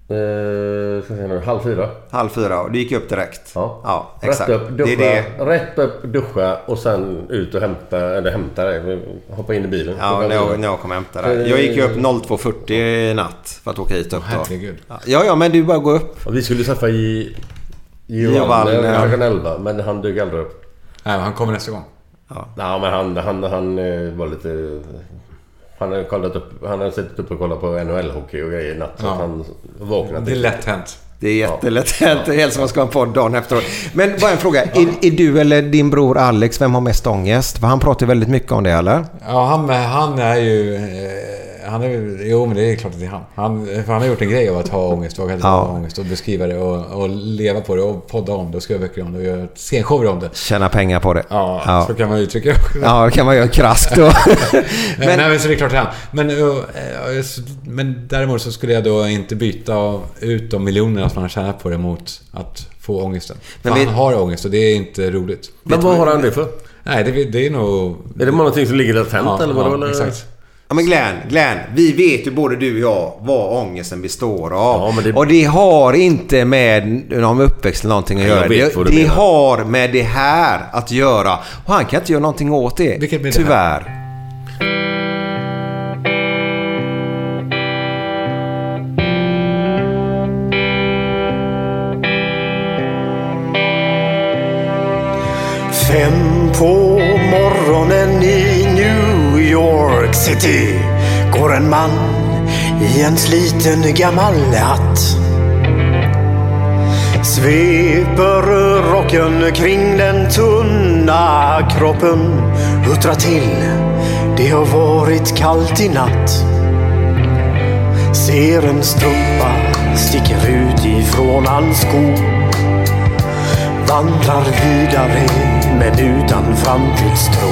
Eh, ska se nu, halv fyra.
Halv fyra och du gick upp direkt. exakt.
Rätt, upp, duscha,
det är det.
rätt upp, duscha och sen ut och hämta, eller hämta dig, hoppa in i bilen.
Ja, när jag, när jag kom och hämtade dig. Jag gick ju upp 02.40 i natt för att åka hit upp då.
Eh. Herregud.
Ja, ja men du bara gå upp.
Och vi skulle träffa i...
Giovanni,
Giovanni
ja.
klockan 11 men han dök aldrig upp.
Nej, men han kommer nästa gång.
Nej men han, han, han eh, var lite... Han har kollat upp, han har suttit upp och kollat på NHL-hockey och grejer i natt. Så
Ja.
att han vaknade
Det är
till.
lätt hänt.
Det är jättelätt hänt. Det är helst man ska ha en podd dagen efteråt. Men bara en fråga. Är, är du eller din bror Alex, vem har mest ångest? För han pratar ju väldigt mycket om det, eller?
Ja, han, han är ju... eh, Han är, ju- jo, men det är klart att det är han. Han, för han har gjort en grej av att ha ångest, våga
Ja.
ha ångest och beskriva det och, och leva på det och podda om det och skriva böcker om det och göra scenshower om det.
Tjäna pengar på det.
Ja,
ja.
så kan man uttrycka det också.
Ja, det kan man göra krasst då.
Men, Nej,
men,
men så det är klart det är han. Men, eh, eh, så- men däremot så skulle jag då inte byta ut de miljonerna som han har tjänat på det mot att få ångesten. För
Men vi-
han har ångest och det är inte roligt.
Men vad har han det för?
Nej, det, det är nog...
Är det någonting som ligger latent
Ja,
eller vad
ja,
det var, eller?
exakt.
ja, men Glenn, Glenn. Vi vet ju både du och jag vad ångesten består av.
Ja, men det-
Och det har inte med någon uppväxt eller någonting att
Jag
göra.
vet
Det,
vad du
det
menar.
har med det här att göra. Och han kan inte göra någonting åt det.
Vilket blir det här?
Tyvärr.
Fem på morgonen i New York City går en man i en sliten gammal hatt. Sveper rocken kring den tunna kroppen, huttra till. Det har varit kallt i natt. Ser en strumpa sticker ut ifrån hans sko. Vandrar vidare men utan framtidstro.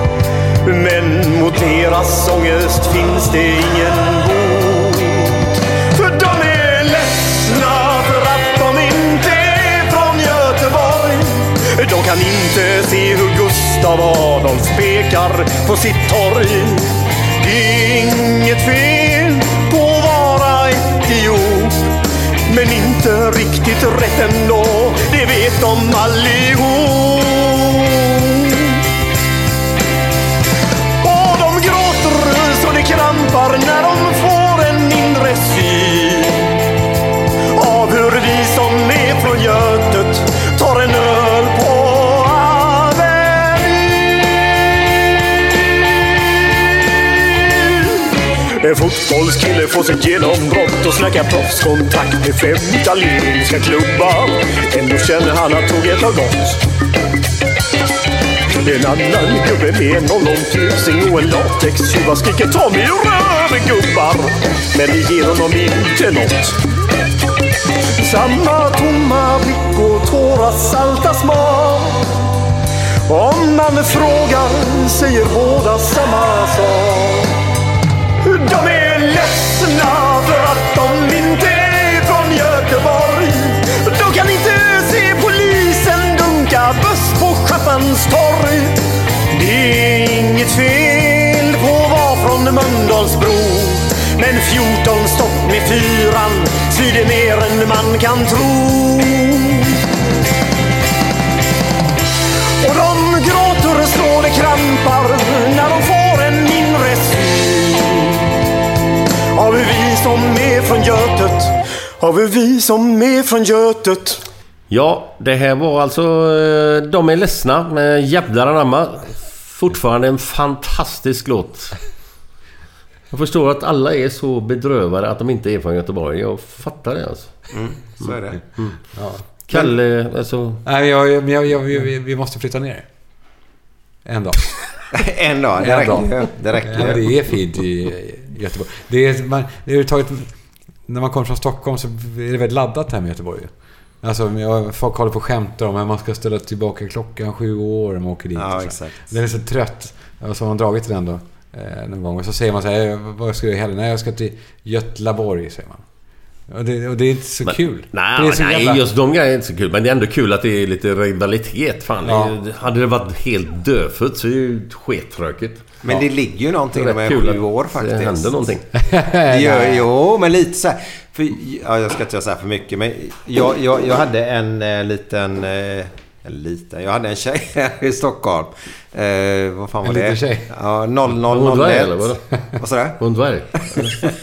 Men mot deras ångest finns det ingen bot. För de är ledsna för att de inte är från Göteborg. De kan inte se hur Gustav Adolf pekar på sitt torg. Det är inget fel på att vara etiop. Men inte riktigt rätt ändå, det vet de allihop. Och de gråter så det krampar när de får en inre sy av hur vi som är från Götet tar en öl på Avenyn. En fotbollskille får sitt genombrott och snackar proffskontrakt med fem italienska klubbar. Ändå känner han att tåget har gått. En annan gubbe med en ollontusing och en latextjuva skriker ta mig ur röven gubbar. Men det ger honom inte något. Samma tomma blick och tårar salta smak. Om man frågar säger båda samma sak. De är ledsna för att de inte är från Göteborg. De kan inte se polisen dunka buss på Schappans torg. Det är inget fel på att vara från Mölndalsbro. Men 14 stopp med fyran, så det mer än man kan tro. Och de gråter så det krampar när de får en inre syn Har vi vi som är från Götet? Har vi vi som är från Götet?
Ja, det här var alltså... eh, De är ledsna, men jävlar anamma. Fortfarande en fantastisk låt. Jag förstår att alla är så bedrövade att de inte är från Göteborg. Jag fattar det alltså.
Mm, så är det.
Mm. Kalle, alltså...
Nej, jag, jag, jag, jag, vi, vi måste flytta ner. En dag.
en dag, det räcker ju. Det räcker ju.
ja, det är fint i Göteborg. Det är, man, det är överhuvudtaget, när man kommer från Stockholm så är det väldigt laddat här med Göteborg. ju. Alltså, jag, folk håller på och skämtar om att man ska ställa tillbaka klockan sju år om man åker dit.
Ja,
och så här.
exakt.
Den är så trött. Och så har man dragit till den då. Eh, någon gång. Och så säger man så här, "Eh, vad ska du i helgen? Nej, jag ska till Götlaborg, säger man. Och det, och det är inte så
Men-
kul.
Nej,
det är så
nej
jävla-
just de grejerna är inte så kul. Men det är ändå kul att det är lite rivalitet. Fan,
Ja.
Det- Hade det varit helt dödfött så är det ju skittråkigt.
Men det ligger ju någonting
Det är rätt
med
kul
sju
att
år faktiskt.
Det händer någonting.
Det gör, jo, men lite så här. För, ja, jag ska inte säga så här för mycket, men jag, jag, jag hade en eh, liten... Eh, en liten? Jag hade en tjej här i Stockholm. Eh, vad fan var
En
det?
liten tjej?
Ja,
Hon var eller
0001.
vadå?
Vad sa du?
Hon dvärg?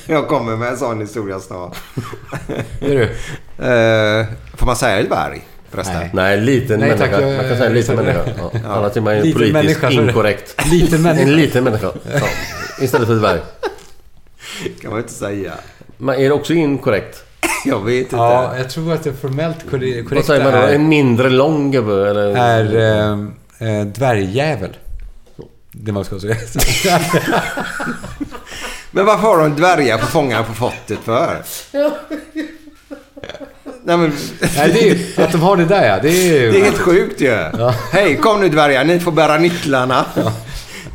jag kommer med en sån historia snart.
Är du?
Eh, får man säga dvärg? Förresten.
Nej, liten
Nej,
människa.
tack, jag-
Man kan säga liten
jag-
människa. Ja.
Ja.
Annars är man ju
Liten
politiskt
människa, så är det.
inkorrekt.
Liten människa.
En liten människa. Ja. Istället för dvärg.
kan man inte säga.
Men är det också inkorrekt?
Jag vet inte.
Ja, jag tror att det formellt korre-
Vad
korrekta
säger man då?
är...
En mindre lång gubbe? Eller?
är ehm, eh, dvärgjävel. Det man ska säga.
Men varför har de dvärgar på fångaren på fortet för? Nej, men...
Nej, det är ju, att de har det där ja. Det är ju...
Det är helt sjukt ju. Hej, kom nu dvärgar, ni får bära nycklarna.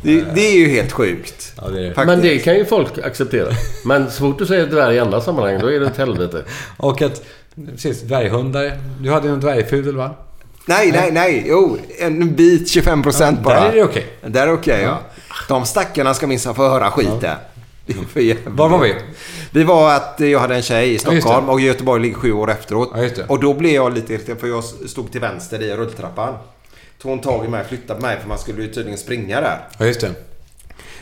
Det, det är ju helt sjukt.
Ja, det är
Men det kan ju folk acceptera. Men så fort du säger dvärg i andra sammanhang, då är det ett helvete.
Och att... Precis, dvärghundar. Du hade en dvärgfudel va?
Nej, nej, nej. Jo, en bit 25 procent bara.
där är det okej.
Där är det okej, ja. De stackarna ska minsann få höra skiten. Det är för jävligt.
Var var vi?
Vi var att eh, jag hade en tjej i
Ja, just
Stockholm
det.
och Göteborg ligger sju år efteråt. Och då blev jag lite irriterad för jag stod till vänster i rulltrappan. Tog hon tag i mig och flyttade mig för man skulle ju tydligen springa där.
Ja, just det.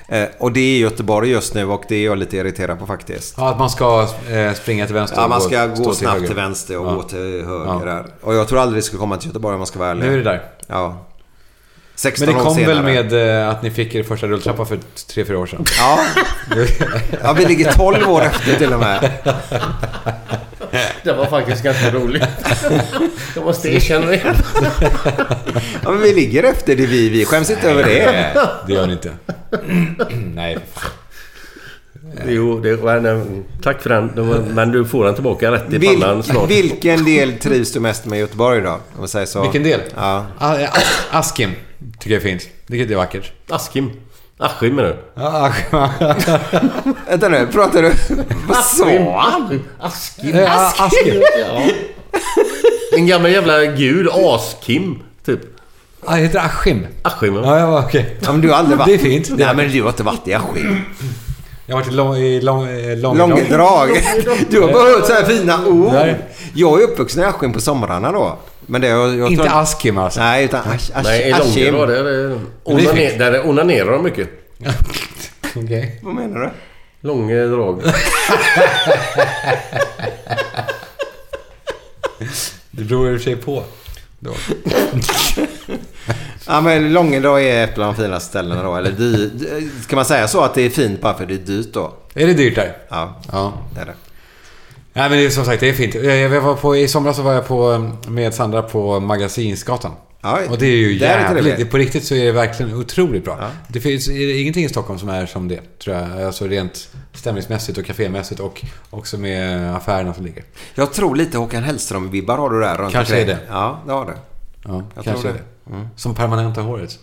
Eh, och det är Göteborg just nu och det är jag lite irriterad på faktiskt.
Ja, att man ska eh, springa till vänster
Ja,
och
man ska
stå
gå snabbt
höger.
till vänster och
Ja.
gå till höger
Ja.
där. Och jag tror aldrig det skulle komma till Göteborg om man ska vara ärlig.
Nu är det där.
Ja. 16
Men det
år
kom väl
senare.
med eh, att ni fick er första rulltrappa för 3-4 år sedan?
Ja. Ja, vi ligger 12 år efter till och med.
Det var faktiskt ganska roligt. Jag måste erkänna det.
Ja, men vi ligger efter det vi. Vi skäms inte över det.
Det gör ni inte. Nej.
Jo, det, men, eh, tack för den. De- Men du får den tillbaka rätt i
Vil,
pannan snart.
vilken del trivs du mest med i Göteborg då? Om vi säger så.
Vilken del?
Ja.
Ah, eh, as- askim tycker jag är fint. Det är vackert.
Askim? Askim menar du?
Ja, Askim.
Vänta nu, pratar du... Vad sa han?
Askim.
Eh, Askim. Askim.
Ja. En gammal jävla gud. Askim, typ.
Ah, det heter Askim.
Askim, ja.
Ja, ja okej.
Ja, men du har aldrig varit...
Det är fint. Det är
Nej, men du har inte varit i Askim.
Jag har varit i lång... I lång, eh, lång,
Långdrag. Du har bara hört så här fina ord.
Nej.
Jag är uppvuxen i Askim på somrarna då. Men det, jag, jag
Inte
tror-
Askim alltså.
Nej, utan Asch- Asch-
Nej, i
Askim.
Långedrag. Där, eh, onaner, där onanerar de mycket.
Okej.
Vad menar du?
Långedrag.
Det beror i och för sig på.
Ja, men Långedrag är ett av de finaste ställena då. Eller dy... Ska man säga så att det är fint bara för det är dyrt då?
Är det dyrt där?
Ja,
Ja.
det är det.
Nej men det är som sagt, det är fint. Eh, Jag jag var på, I somras så var jag på, ehm, med Sandra på Magasinsgatan.
Ja,
och det är ju
där är det
jävligt.
trevligt.
på riktigt så är det verkligen otroligt bra. Det finns är det ingenting i Stockholm som är som det, tror jag. Alltså rent stämningsmässigt och kafémässigt och också med affärerna som ligger.
Jag tror lite Håkan Hellström-vibbar har du där runt
Kanske
omkring.
är det.
Ja, det har du.
Ja,
Jag
kanske
tror Mm.
det. Som permanenta håret,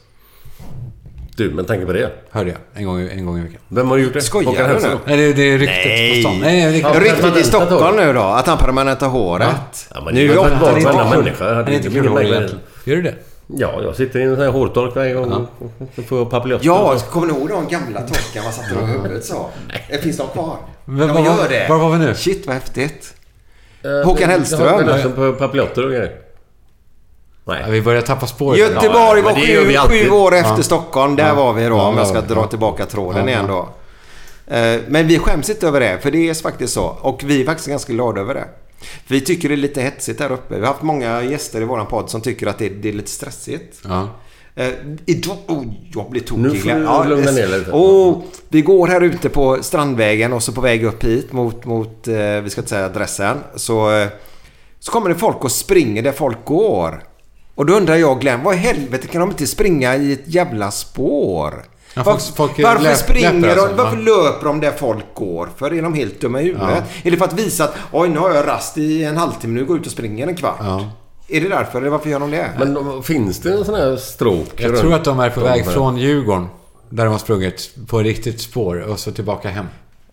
Du, men tänk på det.
hörde jag en gång, en gång i veckan.
Vem har gjort det?
Skojar
Håkan
du
Hellström?
nu?
Nej, det, det är ryktet
Nej.
på stan. Nej, nej, det
Ja,
är ryktet.
Ryktet i
permanenta
Stockholm
hår.
nu då, att han permanentar håret.
Ja, men
nu
det
är
är
ju
väl
åtta
var-
till
varenda
tolv.
människa hade
Han är inte
blivit
kul
märkvärdig.
egentligen. Gör du det?
Ja, jag sitter i en sån här hårtork varje gång. Så får jag papiljotter.
Ja, kommer ni ihåg de gamla torkarna man satte på huvudet så? Eh, Finns de kvar?
Men
de
var-
gör det.
var var vi nu?
Shit vad häftigt.
Eh,
Håkan
Jag har
Hellström.
lösen på papiljotter och grejer.
Ja,
Nej.
vi börjar tappa spåret.
Göteborg
Ja,
var
men det gör vi
sju,
alltid.
sju år efter Stockholm. Där var vi då
Ja,
om jag ska
ja,
dra
ja.
tillbaka tråden
Ja,
igen då. Eh, Men vi skäms inte över det, för det är faktiskt så. Och vi är faktiskt ganska glada över det. Vi tycker det är lite hetsigt här uppe. Vi har haft många gäster i våran podd som tycker att det, det är lite stressigt.
Ja.
Eh, idag... Oh, jag blir tokig.
Nu får du lugna ner dig lite.
Oh, vi går här ute på Strandvägen och så på väg upp hit mot, mot eh, vi ska inte säga adressen. Så, eh, så kommer det folk och springer där folk går. Och då undrar jag Glenn, vad i helvete kan de inte springa i ett jävla spår?
Ja,
Var-
folk- folk är
varför
löp-
springer
löpare
de?
alltså,
Varför
va?
löper de där folk går? För är de helt dumma i huvudet? Är det för att visa att oj nu har jag rast i en halvtimme, nu går jag ut och springer en kvart?
Ja.
Är det därför? Eller varför gör de det?
Men de- finns det en sån här stråk
Jag
runt
tror att de är på väg
dem?
från Djurgården. Där de har sprungit på ett riktigt spår och så tillbaka hem.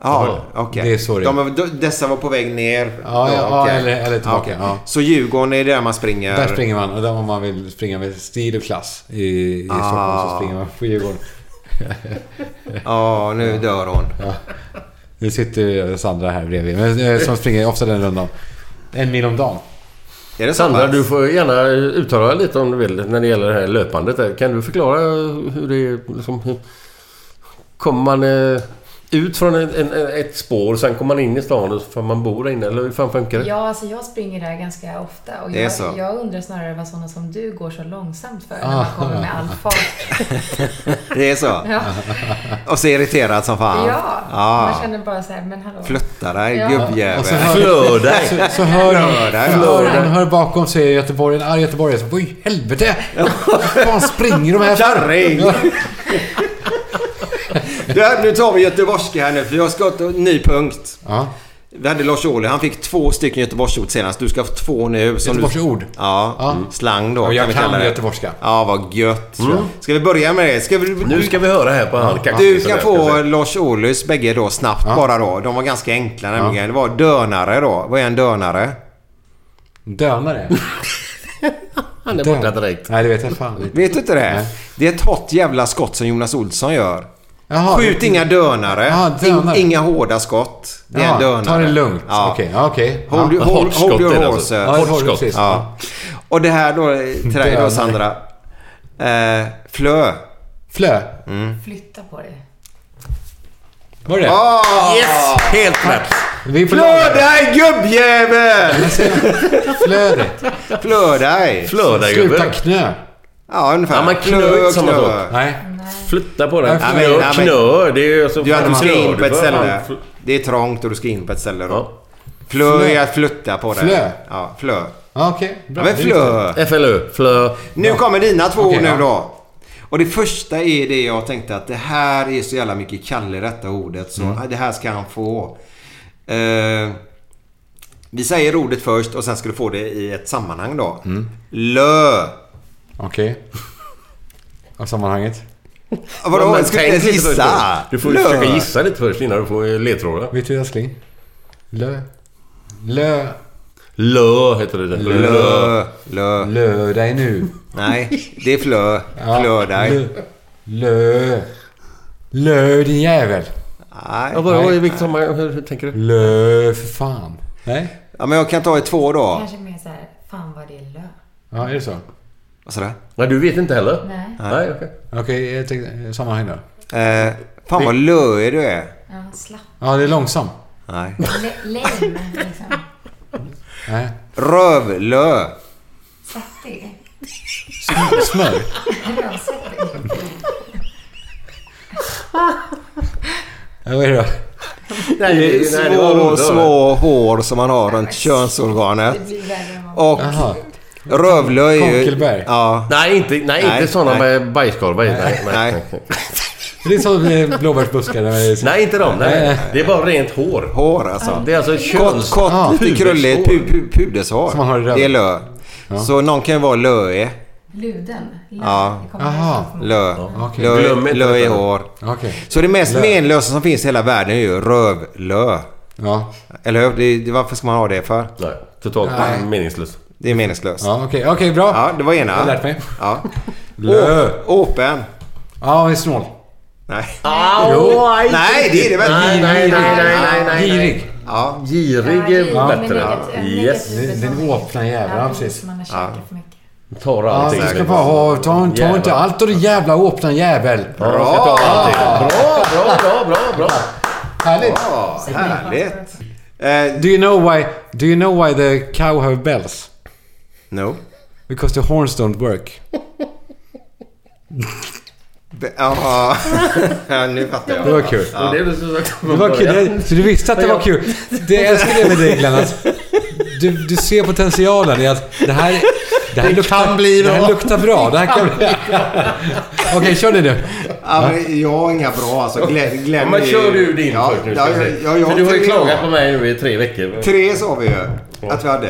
Ja, okej.
Det är så det är.
de, de- Dessa var på väg ner.
Ja, ja, ja,
okej.
eller- eller tillbaka,
okej.
ja.
Så Djurgården är där man springer?
Där springer man. Och där om man vill springa med stil och klass i, i Stockholm så springer man på Djurgården.
Ja, nu dör hon.
Nu sitter ju Sandra här bredvid. Men, eh, som springer ofta den rundan. En mil om dagen.
Är det så
Sandra,
pass?
du får gärna uttala dig lite om du vill när det gäller det här löpandet. där. Kan du förklara hur det är? Liksom, hur... Kommer man eh, ut från en, en, ett spår, sen kommer man in i stan och så får man bo där inne? Eller hur fan funkar det?
Ja, alltså jag springer där ganska ofta och
Det är
jag,
så.
jag undrar snarare vad sådana som du går så långsamt för
Ah.
när man kommer med all fart.
Det är så?
Ja,
Och så irriterad som fan?
ja. man
ja.
känner bara så här, men hallå.
Flytta dig
Ja.
gubbjävel.
Och så hör- Flör Så, så hör
Hör
hon,
där, ja.
hör, hon hör bakom sig Göteborg, en arg göteborgare. Så, Vad i helvete! Vad fan springer de här för?
Kärring! Du, nu tar vi göteborgska här nu för jag ska ta en ny punkt.
Ja.
Vi hade Lars Ohly, han fick två stycken göteborgsord senast. Du ska få två nu. som du-
Göteborgsord?
Ja, mm.
Ja.
slang då.
Ja, jag
vi
kan
kalla det.
göteborgska. Mm.
Ja, vad gött. Ska vi börja med det? Ska vi,
Nu ska vi höra här på han
Du
kaxisen
kan
här,
få
jag se.
Lars Ohlys bägge då snabbt bara då. De var ganska enkla nämligen. Det var dönare då. Vad är en dönare?
Dönare?
Han är borta direkt.
Nej, det vet jag fan inte.
Vet du inte det? Det är ett hot jävla skott som Jonas Olsson gör.
Jaha.
Skjut inga dönare.
Ja, dönare.
In, inga hårda skott. Det är
Ja,
en dönare.
ta det lugnt. Okej, ja, okej.
Hold,
Ja.
your- hold,
Hårt skott är
hold your
det
horse.
alltså. Ja, ett hårt skott.
eh, Ja. Och det här då eh, till dig då
Dönare.
Sandra. Eh, flö.
Flö?
Mm.
Flytta på dig.
Var det
Ah!
Yes!
Helt rätt.
Vi får-
Flö dig gubbjävel!
Flö dig.
Flö dig.
Flö dig, gubbe. Sluta
knö.
Ja, ungefär.
Ja, men knö är inte samma sak.
Nej.
Flytta på den.
Ja,
Knö,
men- ja, men-
knö. Det är ju alltså...
Du är att du ska
knör
in på
du
ett
för.
ställe. Det är trångt och du ska in på ett ställe då. Flö
Flö.
är att flytta på dig.
Flö.
Ja, flö.
Ja, okej.
Ja, men flö.
FLÖ. Flö.
Nu kommer dina två
Okej,
nu
ja.
då. Och det första är det jag tänkte att det här är så jävla mycket Kalle i detta ordet så
Mm.
det här ska han få. Eh, vi säger ordet först och sen ska du få det i ett sammanhang då.
Mm.
Lö.
Okej. Av sammanhanget.
Ja, vadå?
Men
Ska
tänk
du inte
lite
ens
först
gissa?
då. Du får ju
Lö.
försöka gissa lite först innan du får eh, ledtrådar.
Vet du Sling? Lö. Lö.
Lö heter det.
Lö. Lö.
Lö dig nu.
Nej, det är flö.
Ja,
Flö dig.
Lö. Lö. Lö din jävel.
Nej.
Ja, vadå? I
vilket sammanhang? Hur tänker du?
Lö för fan. Nej.
Ja, men jag kan ta i två då.
Kanske mer så här, fan vad det är lö.
Ja, är det så?
Vad sa du?
Nej, du vet inte heller?
Nej.
Nej, okej.
Okej, jag tänkte sammanhang då.
Eh, fan vad löig du är.
Ja, slapp.
Ja, det är långsam.
Nej.
Le- Lame, liksom.
Nej.
Rövlö.
Svettig.
Smör.
Rövsvettig.
Ja, vad är det då?
Nej,
det
det-
är
nej, det var
små,
roligt, det var
små hår som man har runt könsorganet.
Det blir värre än vad
Och
Jaha.
rövlö är ju...
Konkelberg.
Ja.
Nej, inte, nej, inte sådana med bajskorvar i. Nej, nej, nej. nej.
Det är som eh, blåbärsbuskar. där-
inte de. Nej, nej. Det är bara rent hår.
Hår alltså.
Det är alltså
Kort,
köns...
kort
Ja.
lite krulligt pu,
Pubeshår.
pu, pudershår.
Ah, Som man har i röven.
det är lö. Så någon kan ju vara löig.
Luden. Lö.
Ja.
Det kommer härifrån.
Lö.
okej.
Lö,
Glöm inte
lö i
detta.
hår.
Okej.
Så det mest
Lö.
menlösa som finns i hela världen är ju rövlö.
Ja.
Eller hur? Det, det, varför ska man ha det för?
Nej, totalt
Nej.
meningslöst.
Det är meningslöst.
Ja, okej, okej, bra.
Ja, det var ena.
Jag har lärt mig.
Ja.
Lö.
Å- Åpen.
Ja, vi är snål.
Nej.
Jo.
Nej, det är det väl?
Nej, nej, nej, nej, nej, nej.
Girig.
Ja.
Girig är
Ja, men
bättre.
negativ-
Yes.
negativ
Den
betalning.
åpna jäveln, ja, precis.
Man har käkat för mycket.
Tar
Ja,
allting.
du ska bara ha... Ta, ta inte
Jävlar.
allt och din jävla åpna jävel.
Ja, jag ska ta allting. Bra, bra, bra, bra, bra.
Härligt.
Ja, härligt. Eh,
Do you know why... Do you know why the cow have bells?
no.
Because the horns don't work.
Be- Ja, ja, nu fattar jag.
Det var kul.
Det var det du skulle sagt
Det
från
var kul.
början.
Det, så du visste att det var kul. Det jag älskar det med dig Glenn. Att du, du ser potentialen i att det här, det här,
Det
luktar,
kan bli
det här
bra.
luktar bra. Det här kan bli... Okej, kör det nu.
Ja, men jag har inga bra alltså. Glenn, Glenn
Ja, men
är ju-
kör du din
ja,
först nu.
Ja,
ska vi se.
ja, ja, jag
För du har ju
tre
klagat
då.
på mig nu i tre veckor.
Tre sa vi ju att vi hade.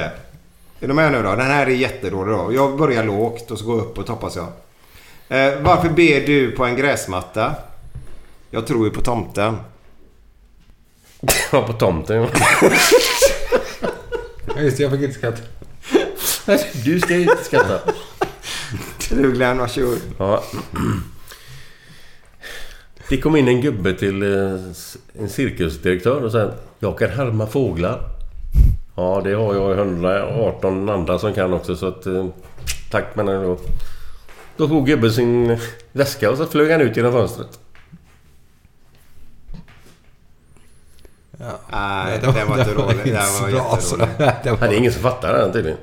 Är du med nu då? Den här är jättedålig då. Jag börjar lågt och så går jag upp och toppas jag. Eh, varför ber du på en gräsmatta? Jag tror ju på tomten.
Ja, på tomten.
Ja, Just det, jag fick inte skratta.
Du ska ju inte skratta.
Du Glenn, varsågod.
Ja. Det kom in en gubbe till eh, en cirkusdirektör och sa Jag kan härma fåglar. Ja, det har jag 118 andra som kan också så att... eh, Tack men då. Då tog gubben sin väska och så flög han ut genom fönstret.
Nej, den var inte alltså. rolig. Den var jätterolig.
Ja, det är ingen som fattar den tydligen.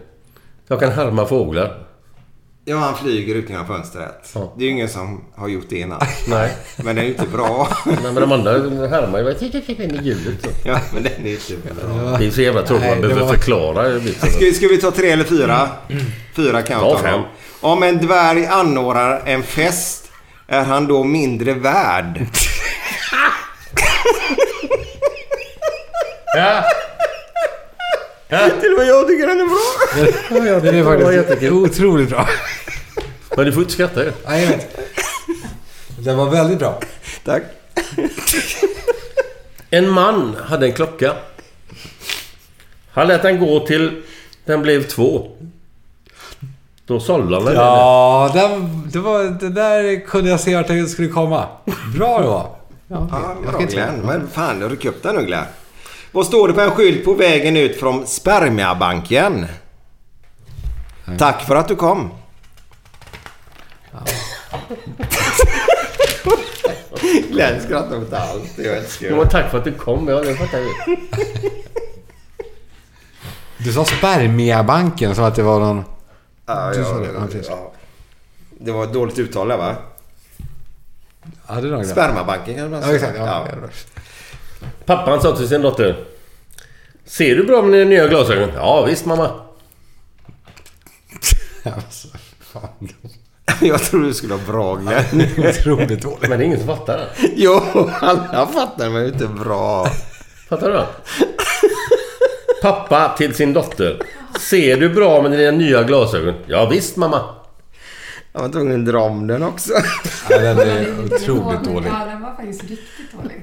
Jag kan härma fåglar.
Ja, han flyger ut genom fönstret.
Ja.
Det är ju ingen som har gjort det innan.
Nej.
Men den är ju inte bra.
Men, men de andra härmar ju bara tick, tick, tick, in i hjulet. så.
Ja, men den är ju inte bra.
Det är så jävla tråkigt.
Nej, det
Man behöver
var-
förklara biten.
Ska, ska vi ta tre eller fyra? Fyra kan jag
Ja,
ta.
fem.
då. Om en dvärg anordnar en fest, är han då mindre värd?
Ja,
Till och med jag tycker den är bra.
det är faktiskt otroligt bra.
Men du får inte skratta ju.
Ja, jag vet. Det var väldigt bra.
Tack.
En man hade en klocka. Han lät den gå till den blev två. Då sålde han den.
Ja, den, det var, det där kunde jag se att det skulle komma. Bra det var.
Ja,
jag
bra
ska inte-
Glenn. Men fan, ryck upp den nu Glenn. Vad står det på en skylt på vägen ut från spermiabanken? Tack för att du kom. Glenn skrattar åt allt. Det är älskar
Jo, men tack för att du kom. Ja, det fattar jag.
Du sa spermiabanken som att det var någon...
Ja,
Du sa
ja,
det, ja, precis.
ja. Det var ett dåligt uttal där va?
Ja, det är någon
Spermabanken kanske man
Ja, exakt. Ja.
Pappan sa till sin dotter. Ser du bra med dina nya glasögon? Ja, visst mamma.
Alltså, fan.
Jag tror du skulle ha bra Glenn.
Otroligt dåligt.
Men det är ingen som fattar det.
Jo, alla fattar men det är inte bra.
Fattar du? Pappa till sin dotter. Ser du bra med dina nya glasögon? Ja, visst mamma.
Jag var tvungen att dra om den också.
Ja, den
Ja, den var faktiskt riktigt dålig.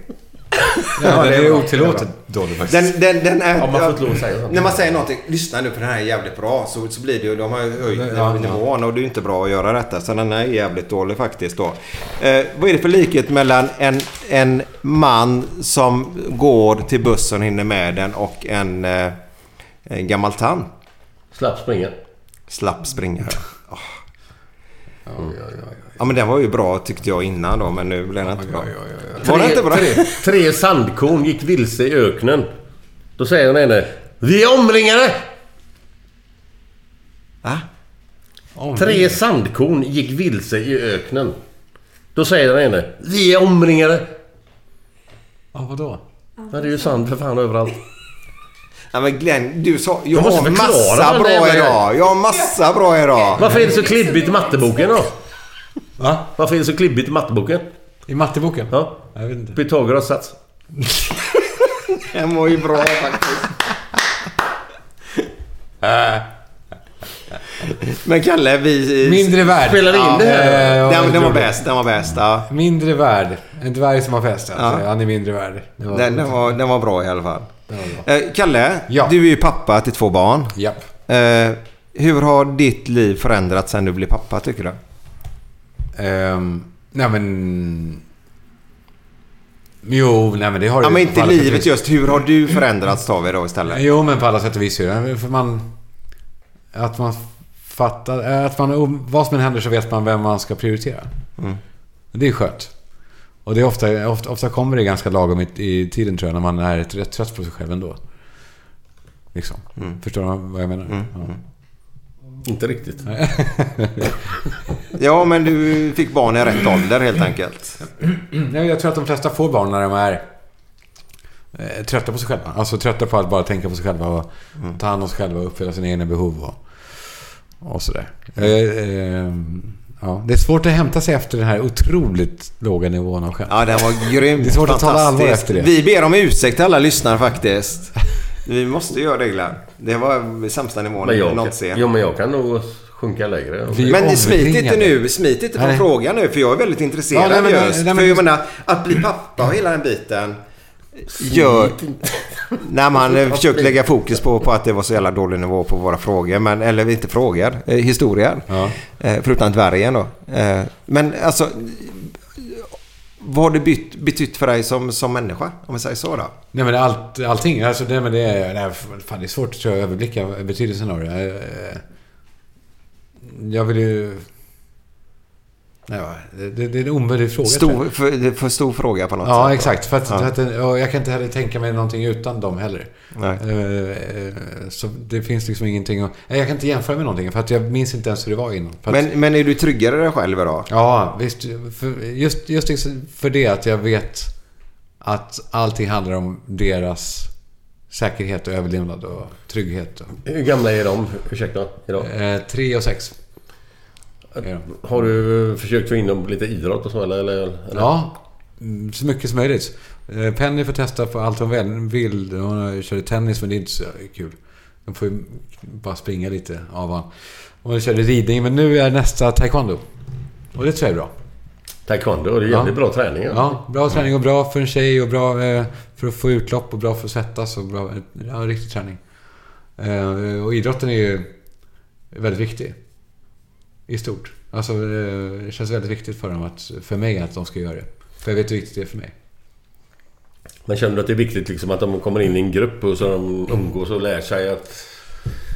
Ja, det
det är
är
bra.
otillåtet dålig faktiskt.
Den, den, den är...
Ja, man får inte lov att säga sånt.
När man säger någonting, lyssna nu för den här är jävligt bra. Så, så blir det ju, de har ju höjt
Ja,
nivån och det är ju inte bra att göra detta. Så den är jävligt dålig faktiskt då. Eh, vad är det för likhet mellan en, en man som går till bussen och hinner med den och en, eh, en gammal tant?
Slapp springa.
Slapp springare. Oh. Ja men den var ju bra tyckte jag innan då men nu blev den inte bra. Var den inte bra?
Tre, tre sandkorn gick vilse i öknen. Då säger den ene. Vi är omringade!
Va?
Tre sandkorn gick vilse i öknen. Då säger den ene. Vi är omringade!
Ja, vadå?
Men det är ju sand för fan överallt.
Ja, men Glenn, du sa... Jag
Jag måste
har
förklara den
massa
där
bra
jävla
idag.
grejen.
Jag har massa bra idag.
Varför är det så klibbigt i matteboken då?
Va?
Varför är det så klibbigt i matteboken?
I matteboken?
Ja.
Jag vet inte.
Pythagoras sats.
Den var ju bra faktiskt. Men Kalle, vi...
Mindre värd.
Spelar in det här?
Eh,
Den, den var
otroligt.
bäst, den var bäst. Ja.
Mindre värd. En dvärg som har fest alltså.
Ja.
Han är mindre värd. Det var-
Den, den, var, den var bra i alla fall.
Det var bra.
Eh, Kalle,
Ja.
du är ju pappa till två barn.
Japp.
Eh, hur har ditt liv förändrats sen du blev pappa tycker du?
Ehm, nej men... Jo, nej men det har
Ja
ju-
men
på
inte
alla sätt och
livet
vis.
just. Hur har du förändrats tar vi då istället?
Jo, men på alla sätt och vis. ju. Ja, För man... Att man fattar... eh, Att man, vad som än händer så vet man vem man ska prioritera.
Mm.
Det är skönt. Och det är ofta, ofta, ofta kommer det ganska lagom i, i tiden tror jag, när man är rätt, rätt trött på sig själv ändå. Liksom.
Mm.
Förstår du vad jag menar? Ja.
Inte riktigt.
Ja men du fick barn i rätt ålder helt enkelt.
Nej, jag tror att de flesta får barn när de är eh, trötta på sig själva. Alltså trötta på att bara tänka på sig själva och ta hand om sig själva och uppfylla sina egna behov och, och sådär. Eh, eh, ja. Det är svårt att hämta sig efter den här otroligt låga nivån av själv.
Ja, den var grym.
Det är svårt att tala
Fantastisk.
allvar efter det.
Vi ber om ursäkt till alla lyssnare faktiskt. Vi måste göra det Glenn. Det var sämsta nivån
Men jag,
någonsin.
jo, men jag kan nog sjunka lägre.
Vi-
men smit inte
omringade.
nu. Smit inte från
Nej.
frågan nu. För jag är väldigt intresserad
Ja, nej, men-
just.
nej, men-
för jag menar, att bli pappa och hela den biten. Gör... När man eh, försöker lägga fokus på, på att det var så jävla dålig nivå på våra frågor. Men, eller inte frågor, eh, historier.
Ja.
Eh, förutom dvärgen då. Eh, men alltså... Vad har det bytt, betytt för dig som, som människa? Om vi säger så då.
Nej men allt, allting. Alltså, nej, men det, är, nej, fan, det är svårt tror jag, att överblicka betydelsen av det. Eh, eh, Jag vill ju... Nej, va, det, det det är en omöjlig fråga. tror jag.
Stor, för, det är för stor fråga på något sätt.
Ja,
då.
exakt. För att,
Ja.
för att, den- och jag kan inte heller tänka mig någonting utan dem heller.
Nej.
Eh, eh, Så det finns liksom ingenting att, Nej, Jag kan inte jämföra med någonting för att jag minns inte ens hur det var innan. För att,
Men, men är du tryggare dig själv idag?
Ja, visst. För, just, just liksom för det att jag vet att allting handlar om deras säkerhet och överlevnad och trygghet. Och,
Hur gamla är de? Ursäkta. Idag?
eh, tre och sex. är de.
Har du försökt få in dem på lite idrott och så eller? eller, eller?
Ja, mm, så mycket som möjligt. Eh, Penny får testa på allt hon väl vill. Hon körde tennis men det är inte så kul. Hon får ju bara springa lite av honom. Hon körde ridning men nu är nästa taekwondo. Och det tror jag är bra.
Taekwondo? Det är jävligt bra träning. Ja.
Ja, bra träning och bra för en tjej och bra eh, för att få utlopp och bra för att svettas och bra... Ja, riktig träning. Eh, Och idrotten är ju väldigt viktig. I stort. Alltså eh, det känns väldigt viktigt för dem att, för mig att de ska göra det. För jag vet hur viktigt det är för mig.
Men känner du att det är viktigt liksom att de kommer in i en grupp och så de umgås och lär sig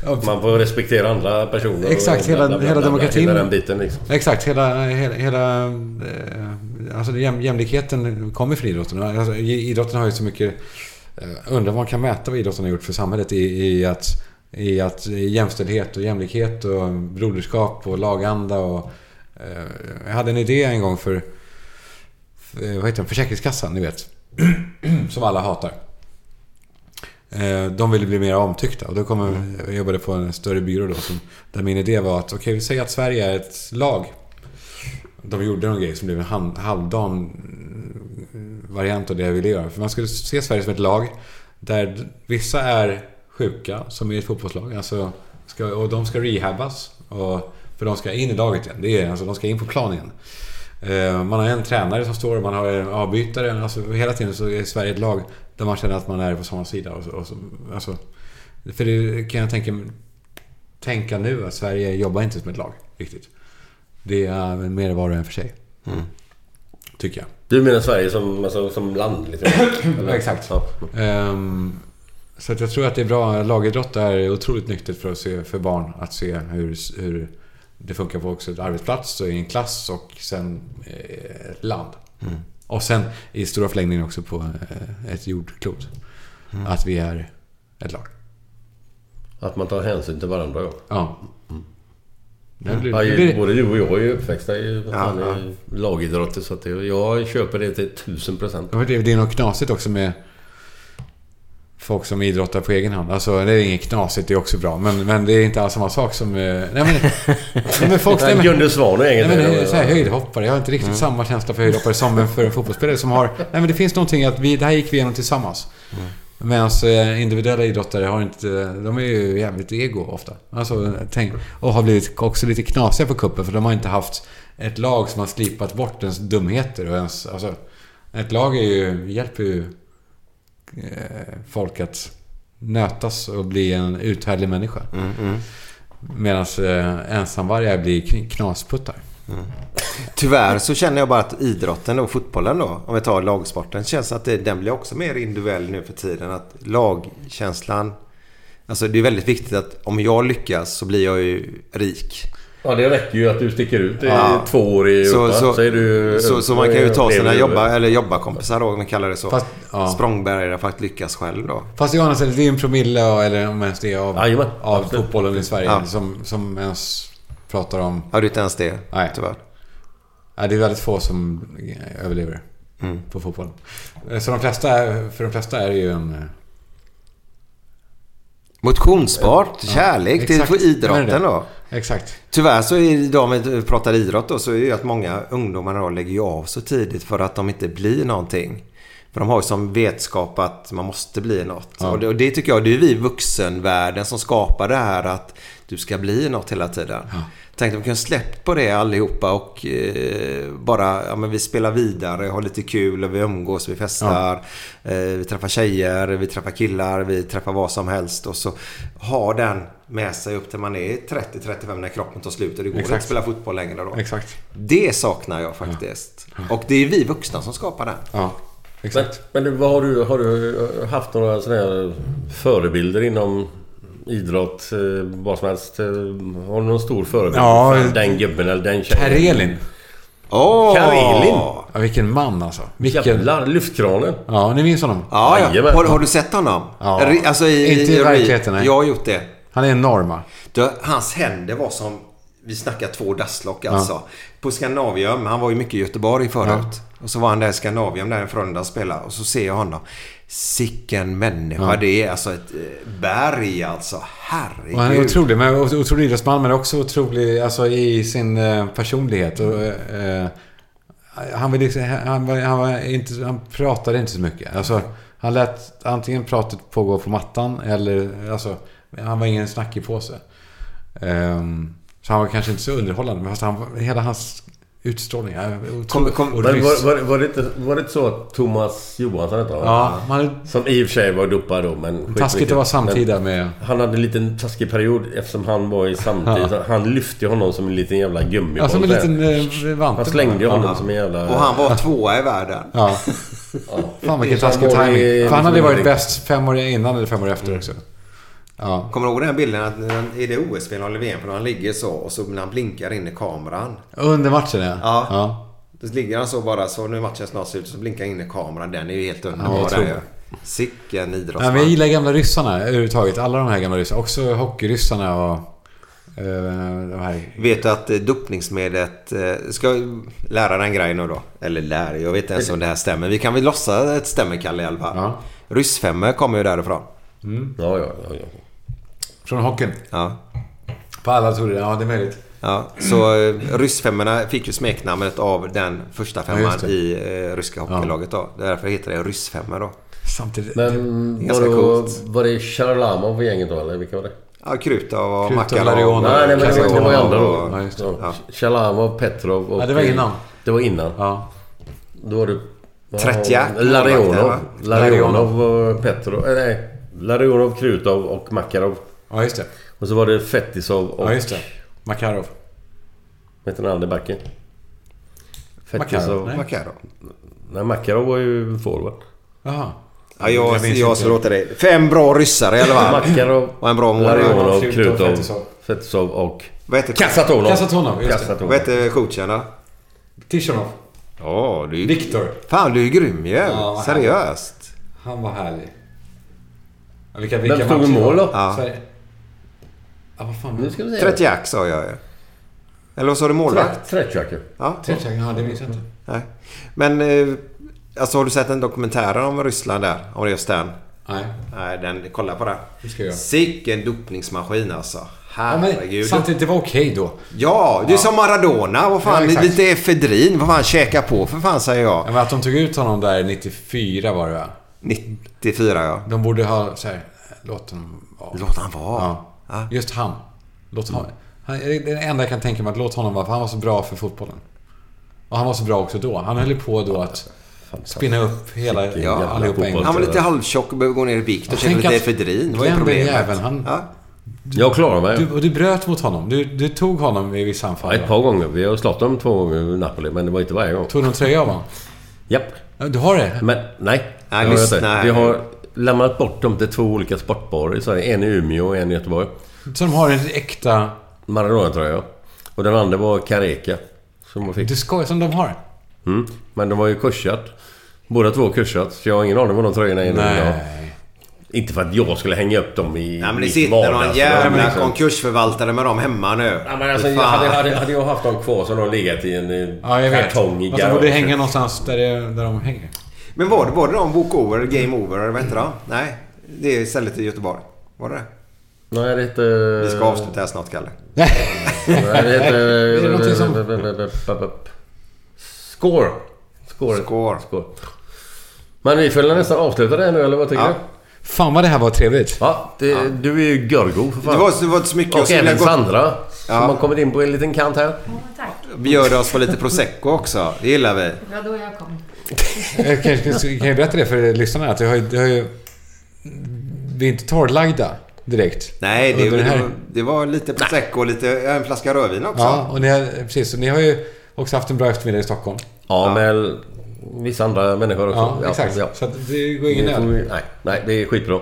att man får respektera andra personer? och
Exakt,
bla,
hela,
bla, bla,
hela
bla, bla,
demokratin.
Hela den biten liksom.
Exakt, hela... hela, hela eh, alltså jäm, jämlikheten kommer från idrotten. Alltså, i- idrotten har ju så mycket... eh, Undrar vad man kan mäta vad idrotten har gjort för samhället i, i att... I att jämställdhet och jämlikhet och broderskap och laganda och... eh, Jag hade en idé en gång för... för vad heter den? Försäkringskassan, ni vet. Som alla hatar. Eh, De ville bli mer omtyckta och då kom jag, jag jobbade på en större byrå då som, där min idé var att okej, vi säger att Sverige är ett lag. De gjorde någon grej som blev en hand- halvdan eh, variant av det jag ville göra. För man skulle se Sverige som ett lag där vissa är sjuka, som i ett fotbollslag. Alltså, ska, och de ska rehabbas. Och, för de ska in i laget igen. Det är, alltså, de ska in på plan igen. Eh, Man har en tränare som står och man har en avbytare. Alltså, hela tiden så är Sverige ett lag där man känner att man är på samma sida. Och så, och så, alltså, för det kan jag tänka, tänka nu att Sverige jobbar inte som ett lag riktigt. Det är väl mer var och en för sig. Tycker jag.
Du menar Sverige som, alltså, som land? Liksom, eller?
Exakt.
Ja.
Ehm, så att jag tror att det är bra. Lagidrott är otroligt nyttigt för, att se, för barn. Att se hur, hur det funkar på också ett arbetsplats och i en klass och sen eh, ett land.
Mm.
Och sen i stora förlängningen också på eh, ett jordklot.
Mm.
Att vi är ett lag.
Att man tar hänsyn till varandra ja.
Ja.
Mm.
blir-
Ja,
det
ju-
blir-
Både du och jag är ju uppväxta i
Ja,
ja, lagidrotter så att det, jag köper det till tusen procent.
Ja, men Det det är något knasigt också med folk som idrottar på egen hand. Alltså det är inget knasigt, det är också bra. Men, men det är inte alls samma sak som... eh, Nej men... nej, men folk... nej, men-
Gunde Svan och
Nej
gänget.
men det är
där.
så här, höjdhoppare. Jag har inte riktigt
Mm.
samma känsla för höjdhoppare som en- för en fotbollsspelare som har... Nej men det finns någonting att vi... Det här gick vi igenom tillsammans.
Mm.
Medan alltså, eh, individuella idrottare har inte... De är ju jävligt ego ofta. Alltså, tänk, och har blivit också lite knasiga på kuppen för de har inte haft ett lag som har slipat bort ens dumheter och ens... Alltså, ett lag är ju, hjälper ju eh, folk att nötas och bli en uthärdlig människa.
Mm, mm.
Medan eh, ensamvargar blir kn- knasputtar.
Tyvärr så känner jag bara att idrotten och fotbollen då, om vi tar lagsporten, känns att det, den blir också mer individuell nu för tiden. Att lagkänslan... Alltså det är väldigt viktigt att om jag lyckas så blir jag ju rik.
Ja, det räcker ju att du sticker ut i
Ja.
två år i
så,
Europa.
så,
är du,
så, så man kan ju ta sina
lever-
jobba, eller jobbarkompisar då, om vi kallar det så.
Fast- ja.
Språngbärare för att lyckas själv då.
Fast i andra sidan, det är en promille eller om ens det är av,
Jajamän,
av
absolut.
fotbollen i Sverige
Ja.
som, som ens pratar om...
Har du inte ens det?
Nej.
Tyvärr.
Nej, det är väldigt få som eh, överlever
Mm.
på fotbollen. Eh, Så de flesta, är- för de flesta är det ju en... eh,
Motionssport,
Ja,
kärlek till
exakt.
idrotten
Jag menar
då.
det. Exakt.
Tyvärr så är det, om vi pratar idrott då, så är det ju att många ungdomar då lägger ju av så tidigt för att de inte blir någonting. För de har ju som vetskap att man måste bli något.
Ja.
Och, det, och det tycker jag, det är ju vi i vuxenvärlden som skapar det här att du ska bli något hela tiden. Tänk om vi kunde släppt på det allihopa och eh, bara, ja men vi spelar vidare, har lite kul och vi umgås, vi festar. Eh, vi träffar tjejer, vi träffar killar, vi träffar vad som helst. Och så har den med sig upp till man är 30-35 när kroppen tar slut och det går
Exakt.
inte att spela fotboll längre då.
Exakt.
Det saknar jag faktiskt. Och det är vi vuxna som skapar den.
Ja,
Men, men vad har, du, har du haft några sådana här förebilder inom idrott? eh, Vad som helst? eh, Har du någon stor förebild?
Ja,
För den gubben eller den tjejen?
Karelin.
Åh!
Karelin?
Ja, vilken man alltså. Vilken...
Jävlar, lyftkranen.
Ja, ni minns honom?
Ja, ja.
Jajamän.
Har, har du sett honom?
Ja.
Re- Alltså i,
Inte i
re-
verkligheten, nej.
Jag har gjort det.
Han är enorm va?
Du, hans händer var som... Vi snackar två dasslock
Ja.
alltså. På Scandinavium, han var ju mycket i Göteborg förut. Och så var han där i Scandinavium där en Frölunda spelade. Och så ser jag honom. Sicken människa
Ja.
det är. Alltså ett eh, berg alltså. Herregud.
Och han är otrolig, men otrolig idrottsman men också otrolig alltså, i sin eh, personlighet. Och, eh, eh, han, var liksom, han, var, han, var inte, han pratade inte så mycket. Alltså, han lät antingen pratet pågå på mattan eller alltså, han var ingen snackig påse. Ehm, så han var kanske inte så underhållande. Men fast han, var- hela hans utstrålning. Ja, otroligt.
Kom, kom,
Och
men var,
ryss.
var, var, det inte, var det inte så att Thomas Johansson hette han?
Ja,
Som i och för sig var dopad då, men...
Taskigt att vara samtida
med... Han hade en liten taskig period eftersom han var i samtid.
Ja.
Han lyfte honom som en liten jävla gummiboll.
Ja, som alltså, en
där.
liten eh, vante.
Han slängde ju honom
Ja.
som en jävla...
Och han var tvåa i världen.
Ja. Fan vilken
Så han
taskig
var i-
timing. För han hade
liksom
varit
i-
bäst fem år innan eller fem år efter också. Ja.
Kommer du ihåg den här bilden att när han- är det OS-spel eller VM? För han ligger så och så när han blinkar in i kameran.
Under matchen ja.
Ja.
ja.
Då ligger han så bara så nu är matchen snart slut så blinkar han in i kameran. Den är ju helt
Ja,
underbar.
jag tror
den
det.
ju. Sicken
Nej,
idrottsman.
men jag gillar gamla ryssarna överhuvudtaget. Alla de här gamla ryssarna. Också hockeyryssarna och... eh, de här...
Vet du att eh, dopningsmedlet... eh, Ska jag lära dig en grej nu då? Eller lära, jag vet inte ens om det här stämmer. Vi kan väl låtsas att det stämmer Kalle i alla fall. Ryssfemmor kommer ju därifrån.
Mm.
Ja, ja, ja,
Från hockeyn?
Ja.
På alla torer, ja det är möjligt.
Ja, så eh, ryssfemmorna fick ju smeknamnet av den första femman
just det.
i eh, ryska hockeylaget då. Därför heter det ryssfemmor då.
Samtidigt...
Men var,
Ganska
då,
coolt.
var det Sharalamov i gänget då, eller vilka var det?
Ja, Krutov och
Krutov,
Makarov.
Larionov, Nej, nej, men det var- det var ju andra då.
Ja,
Ja. Shalamov, Petrov och...
Ja, det var innan.
Det var innan. Då var det... ja,
Tretjak, målvakten,
Larionov.
va?
Larionov och Petrov. eh, Nej. Larionov, Krutov och Makarov.
Ja, just det.
Och så var det Fetisov och...
Ja, just det. Makarov.
Vad heter den andra backen?
Makarov, nej.
Makarov.
Nej, Makarov var ju forward.
Jaha.
Ja, jag,
Jag minns
jag
inte.
ska låta dig. Fem bra ryssare i alla fall.
Makarov,
Och en bra
Larionov,
målvakt.
Krutov, Fetisov och...
Vad heter
Kassatonov.
Kassatonov, just det.
Kassatonov.
Vad heter coachen då?
Tishonov.
Ja, du...
Viktor.
Fan, du är grym ju.
Ja, vad härligt.
Seriöst.
Han var härlig. Ja, vilka,
Vem stod i
matcher
mål
det
då?
var.
Ja.
Sverige. Ja, vad fan.
Nu ska vi se.
Tretjak sa jag ju. Eller vad sa du målvakt?
Tretjak.
Ja.
Tretjak, ja det minns jag inte.
Nej. Men... eh, Alltså har du sett en dokumentär om Ryssland där? Om just den?
Nej.
Nej, den, kolla på den.
Det ska jag göra.
Sicken dopningsmaskin alltså.
Ja, men
Herregud.
samtidigt, det var okej då.
Ja, det är som Maradona. Vad
Ja,
fan,
exakt.
lite efedrin. Vad fan, käka på för fan säger jag.
Ja, men att de tog ut honom där 94 var det va?
94 ja.
De borde ha så här, låt honom vara.
Låt han vara.
Ja. Just han. Låt honom. Han, det är det enda jag kan tänka mig att låt honom vara, för han var så bra för fotbollen. Och han var så bra också då. Han höll ju på då att spinna upp hela,
Ja,
allihopa en gång.
Han var lite halvtjock och behöver gå ner i vikt och
Jag
käka
tänker
lite
att
efedrin. Det var ju
den
problemet.
jäveln, han-
ja.
Jag klarar mig.
Du, och du bröt mot honom. Du, du tog honom i vissa
Ja,
anfall.
ett par gånger. Vi har slått dem två gånger i Napoli, men det var inte varje gång.
Tog du en tröja av honom?
Japp.
Ja, Du har det?
Men nej. det har jag
lyssna
inte.
här.
Vi har lämnat bort dem till två olika sportbarer i Sverige. En i Umeå och en i Göteborg.
Så de har en äkta...
Maradona tror jag. Och den andra var Kareka. Som man fick.
Du skojar? Som de har?
Mm. Men de var ju kursat. Båda två kursat. Så jag har ingen aning vad de tröjorna är nu.
Nej.
idag. Inte för att jag skulle hänga upp dem i
Nej men det
mitt
sitter någon
vardagsrum,
jävla
liksom.
konkursförvaltare med dem hemma nu.
Ja, men alltså,
Fy
jag
fan.
hade, hade, hade jag haft dem kvar så hade de legat i en eh,
Ja, jag vet.
kartong i
Att de borde
garaget.
hänga någonstans där, det, där de hänger.
Men var det, var det de Walk Over, Game Over eller vad hette de? Nej, det är istället i Göteborg. Var det det?
Nej, det heter...
Vi
Eh,
ska avsluta här snart Kalle.
Nej, det heter...
Är det någonting som...
Score. Score.
Score.
Men vi får väl nästan avsluta det här nu, eller vad tycker
Ja.
du?
Fan vad det här var trevligt.
Ja, det, du är ju görgo för fan.
Det var, det var inte så mycket. jag
Och
skulle
även
vilja gå-
Sandra, som
Ja.
har kommit in på en liten kant här.
Vi gör det oss på lite prosecco också. Det gillar vi.
Det var då jag kom.
Jag kan, kan jag berätta det för lyssnarna? Att jag har, ju- jag har ju... Vi är inte torrlagda direkt.
Nej, det,
Under
det,
den här-
var, det var lite prosecco och lite, ja, en flaska rödvin också.
Ja, och ni har, precis. Och ni har ju också haft en bra eftermiddag i Stockholm.
Ja, men vissa andra människor också.
Ja, exakt. Så att det går ingen
Det får
öl.
vi- Nej, nej, det är skitbra.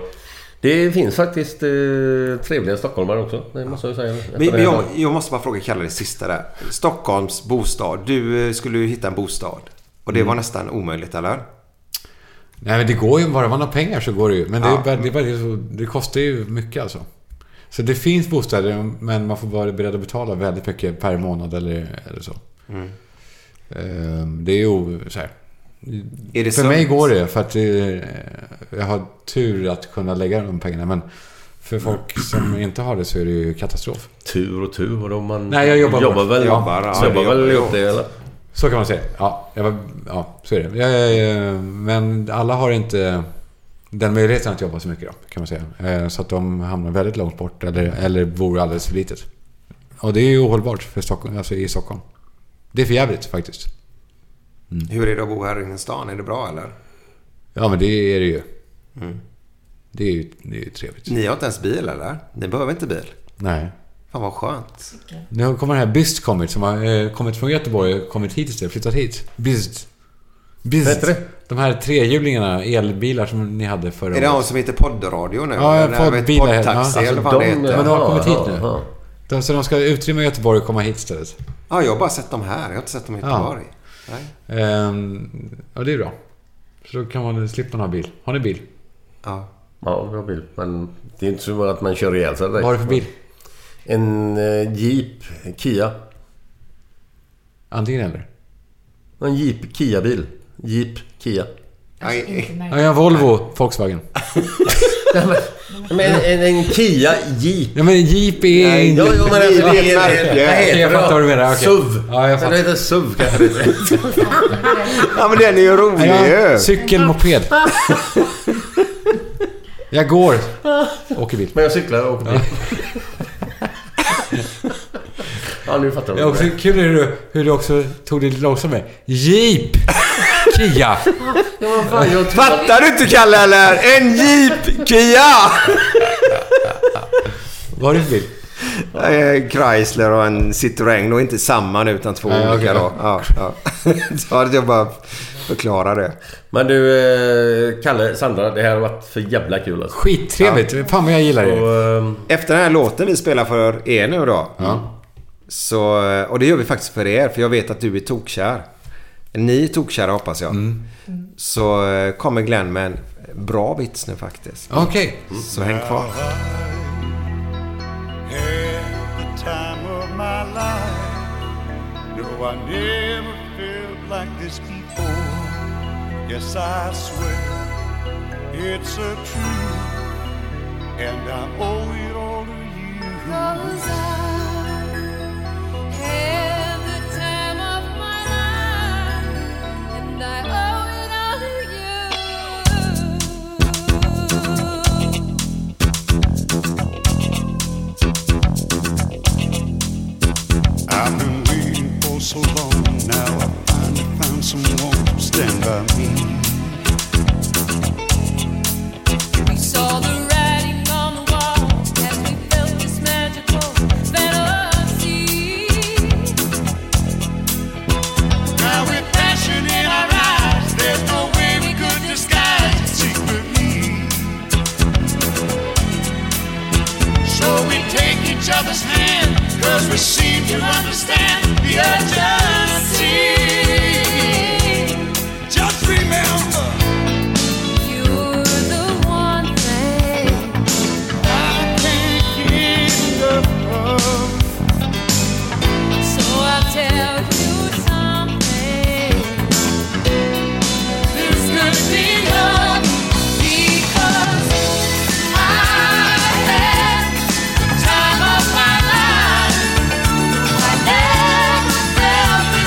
Det finns faktiskt eh, trevliga stockholmare också. Det måste jag säga. Efter
Men,
det
men
här.
jag, jag måste bara fråga Kalle det sista där. Stockholms bostad. Du eh, skulle ju hitta en bostad. Och det
Mm.
var nästan omöjligt, eller?
Nej, men det går ju. Bara man har pengar så går det ju. Men det, är
Ja.
bara, det, är bara, så- det kostar ju mycket alltså. Så det finns bostäder, men man får vara beredd att betala väldigt mycket per månad eller, eller så. Ehm, Det är ju så här.
Är
för
det sunt?
mig går det, för att det, jag har tur att kunna lägga de pengarna. Men för folk som inte har det så är det ju katastrof.
Tur och tur. Vadå, man
Nej, jag jobbar
jobbar
bort.
väl,
Jobbar,
jobbar,
ja,
jobbar,
jag
väl
jobbar.
upp det, eller?
Så kan man säga. Ja, jag var, ja så är det. Jag, jag, jag, men alla har inte den möjligheten att jobba så mycket då, kan man säga. Eh, Så att de hamnar väldigt långt bort eller, eller bor alldeles för litet. Och det är ju ohållbart för Stockholm, alltså i Stockholm. Det är för jävligt faktiskt.
Hur är det att bo här inne i stan? Är det bra eller?
Ja, men det är det ju.
Mm.
Det är ju, det är ju trevligt.
Ni har inte ens bil eller? Ni behöver inte bil?
Nej.
Fan vad skönt.
Nu har- kommer den här Byst kommit, som har eh, kommit från Göteborg och kommit hit istället, flyttat hit. Byst.
Vad heter
Byst.
det?
De här trehjulingarna, elbilar som ni hade förra
Är det de som heter poddradio nu?
Ja,
Eller?
jag har
Nej,
fått bilar här.
Poddtaxi
Ja.
eller vad det heter.
Men Alltså, de har kommit hit nu. De, så de ska utrymma Göteborg och komma hit istället.
Ja, jag har bara sett dem här. Jag har inte sett dem i
Ja.
Göteborg. Nej.
Ehm, ja, det är bra. Så då kan man slippa ha bil. Har ni bil?
Ja.
Ja, jag vill. Men det är inte så att man kör ihjäl sig direkt.
Vad har du för bil?
En eh, Jeep Kia.
Antingen eller?
En Jeep Kia-bil. Jeep Kia.
Alltså,
Ja, jag har Volvo, Volkswagen.
Men en, en Kia Jeep.
Ja, men Jeep är...
Nej, jo, jo, men alltså, det är- vad heter
Jag
det då?
fattar vad du menar. okej.
SUV.
Ja, jag fattar.
Den heter SUV kanske det heter.
Ja, men den är ju rolig
Ja,
ju.
cykelmoped. Jag går. Åker bil.
Men jag cyklar och åker bil. Ja, nu fattar
Det är
jag.
också kul hur du, hur du också tog det lite långsammare. Jeep! Kia!
Fattar du inte Kalle eller? En Jeep Kia!
Vad har du för bil?
Eh, Chrysler och en Citroën. Då inte samman utan två
Nej,
olika
okej.
då. Ja, ja. Så att jag bara förklarar det.
Men du, eh, Kalle, Sandra, det här har varit för jävla kul alltså. Ehm,
Skittrevligt. Fan vad jag gillar det.
Efter den här låten vi spelar för er nu då. Så, eh, och det gör vi faktiskt för er. För jag vet att du är tokkär. Ni är tokkära hoppas jag.
Mm.
Så eh, kommer Glenn med en bra vits nu faktiskt.
Okej.
Så häng kvar.
had the time of my life. No, I never felt like this before. Yes, I swear it's a truth, and I owe it all to you. Cause I had the time of my life, and I owe it all to you. I've been waiting for so long. Now I finally found someone to stand by me.
We saw the writing on the wall as we felt this magical fantasy.
Now with passion in our eyes, there's no way we could disguise the secret need. So we take each other's hand, cause we seem to understand the urgency. Just remember.
You're the one thing I can't get enough of. So I'll tell you something. This could be love because I had the time of my life. I never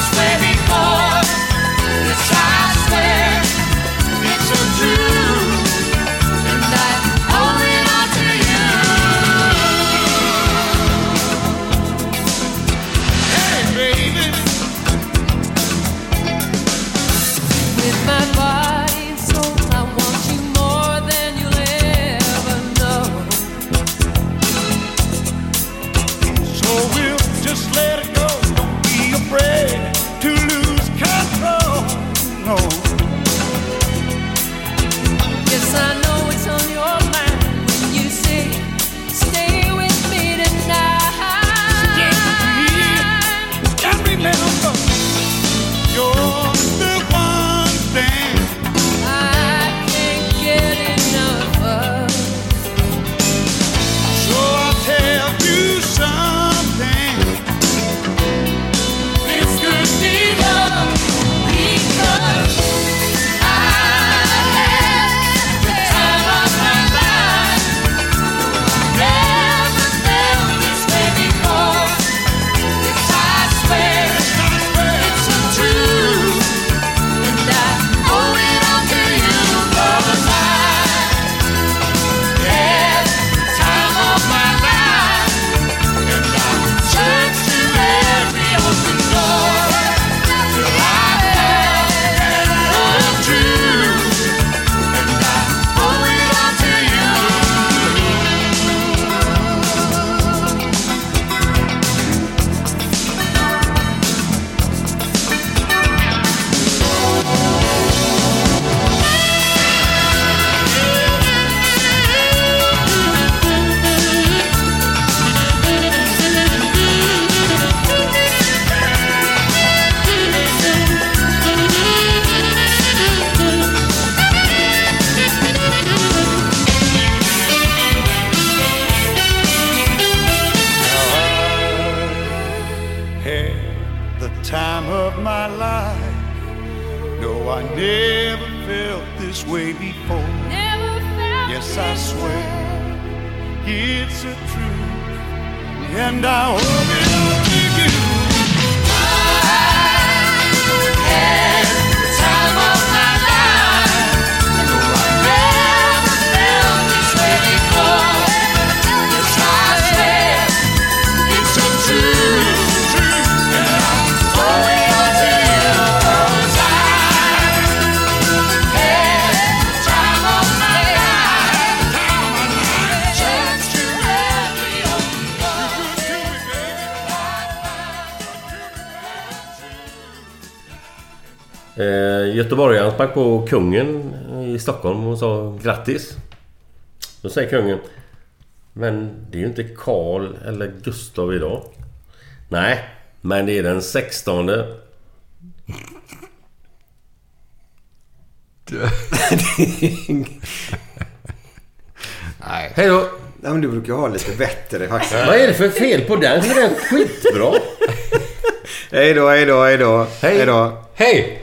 time of my life. No, I never felt this way before.
Never felt
Yes,
this
I swear it's a truth, and I hope it'll keep you.
Time of my life, never felt this way before. Yes, I swear it's a truth, and I owe it all to you. 'Cause I had the time of my life, thanks to every
Eh, Göteborgaren sprang på kungen i Stockholm och sa grattis. Då säger kungen. Men det är ju inte Karl eller Gustav idag. Nej, men det är den 16.
Nej. Hej då. Nej, men du brukar ju ha lite bättre faktiskt.
Vad är det för fel på den? Den är skitbra.
Hej då, hej då, hej då. Hej då. Hej!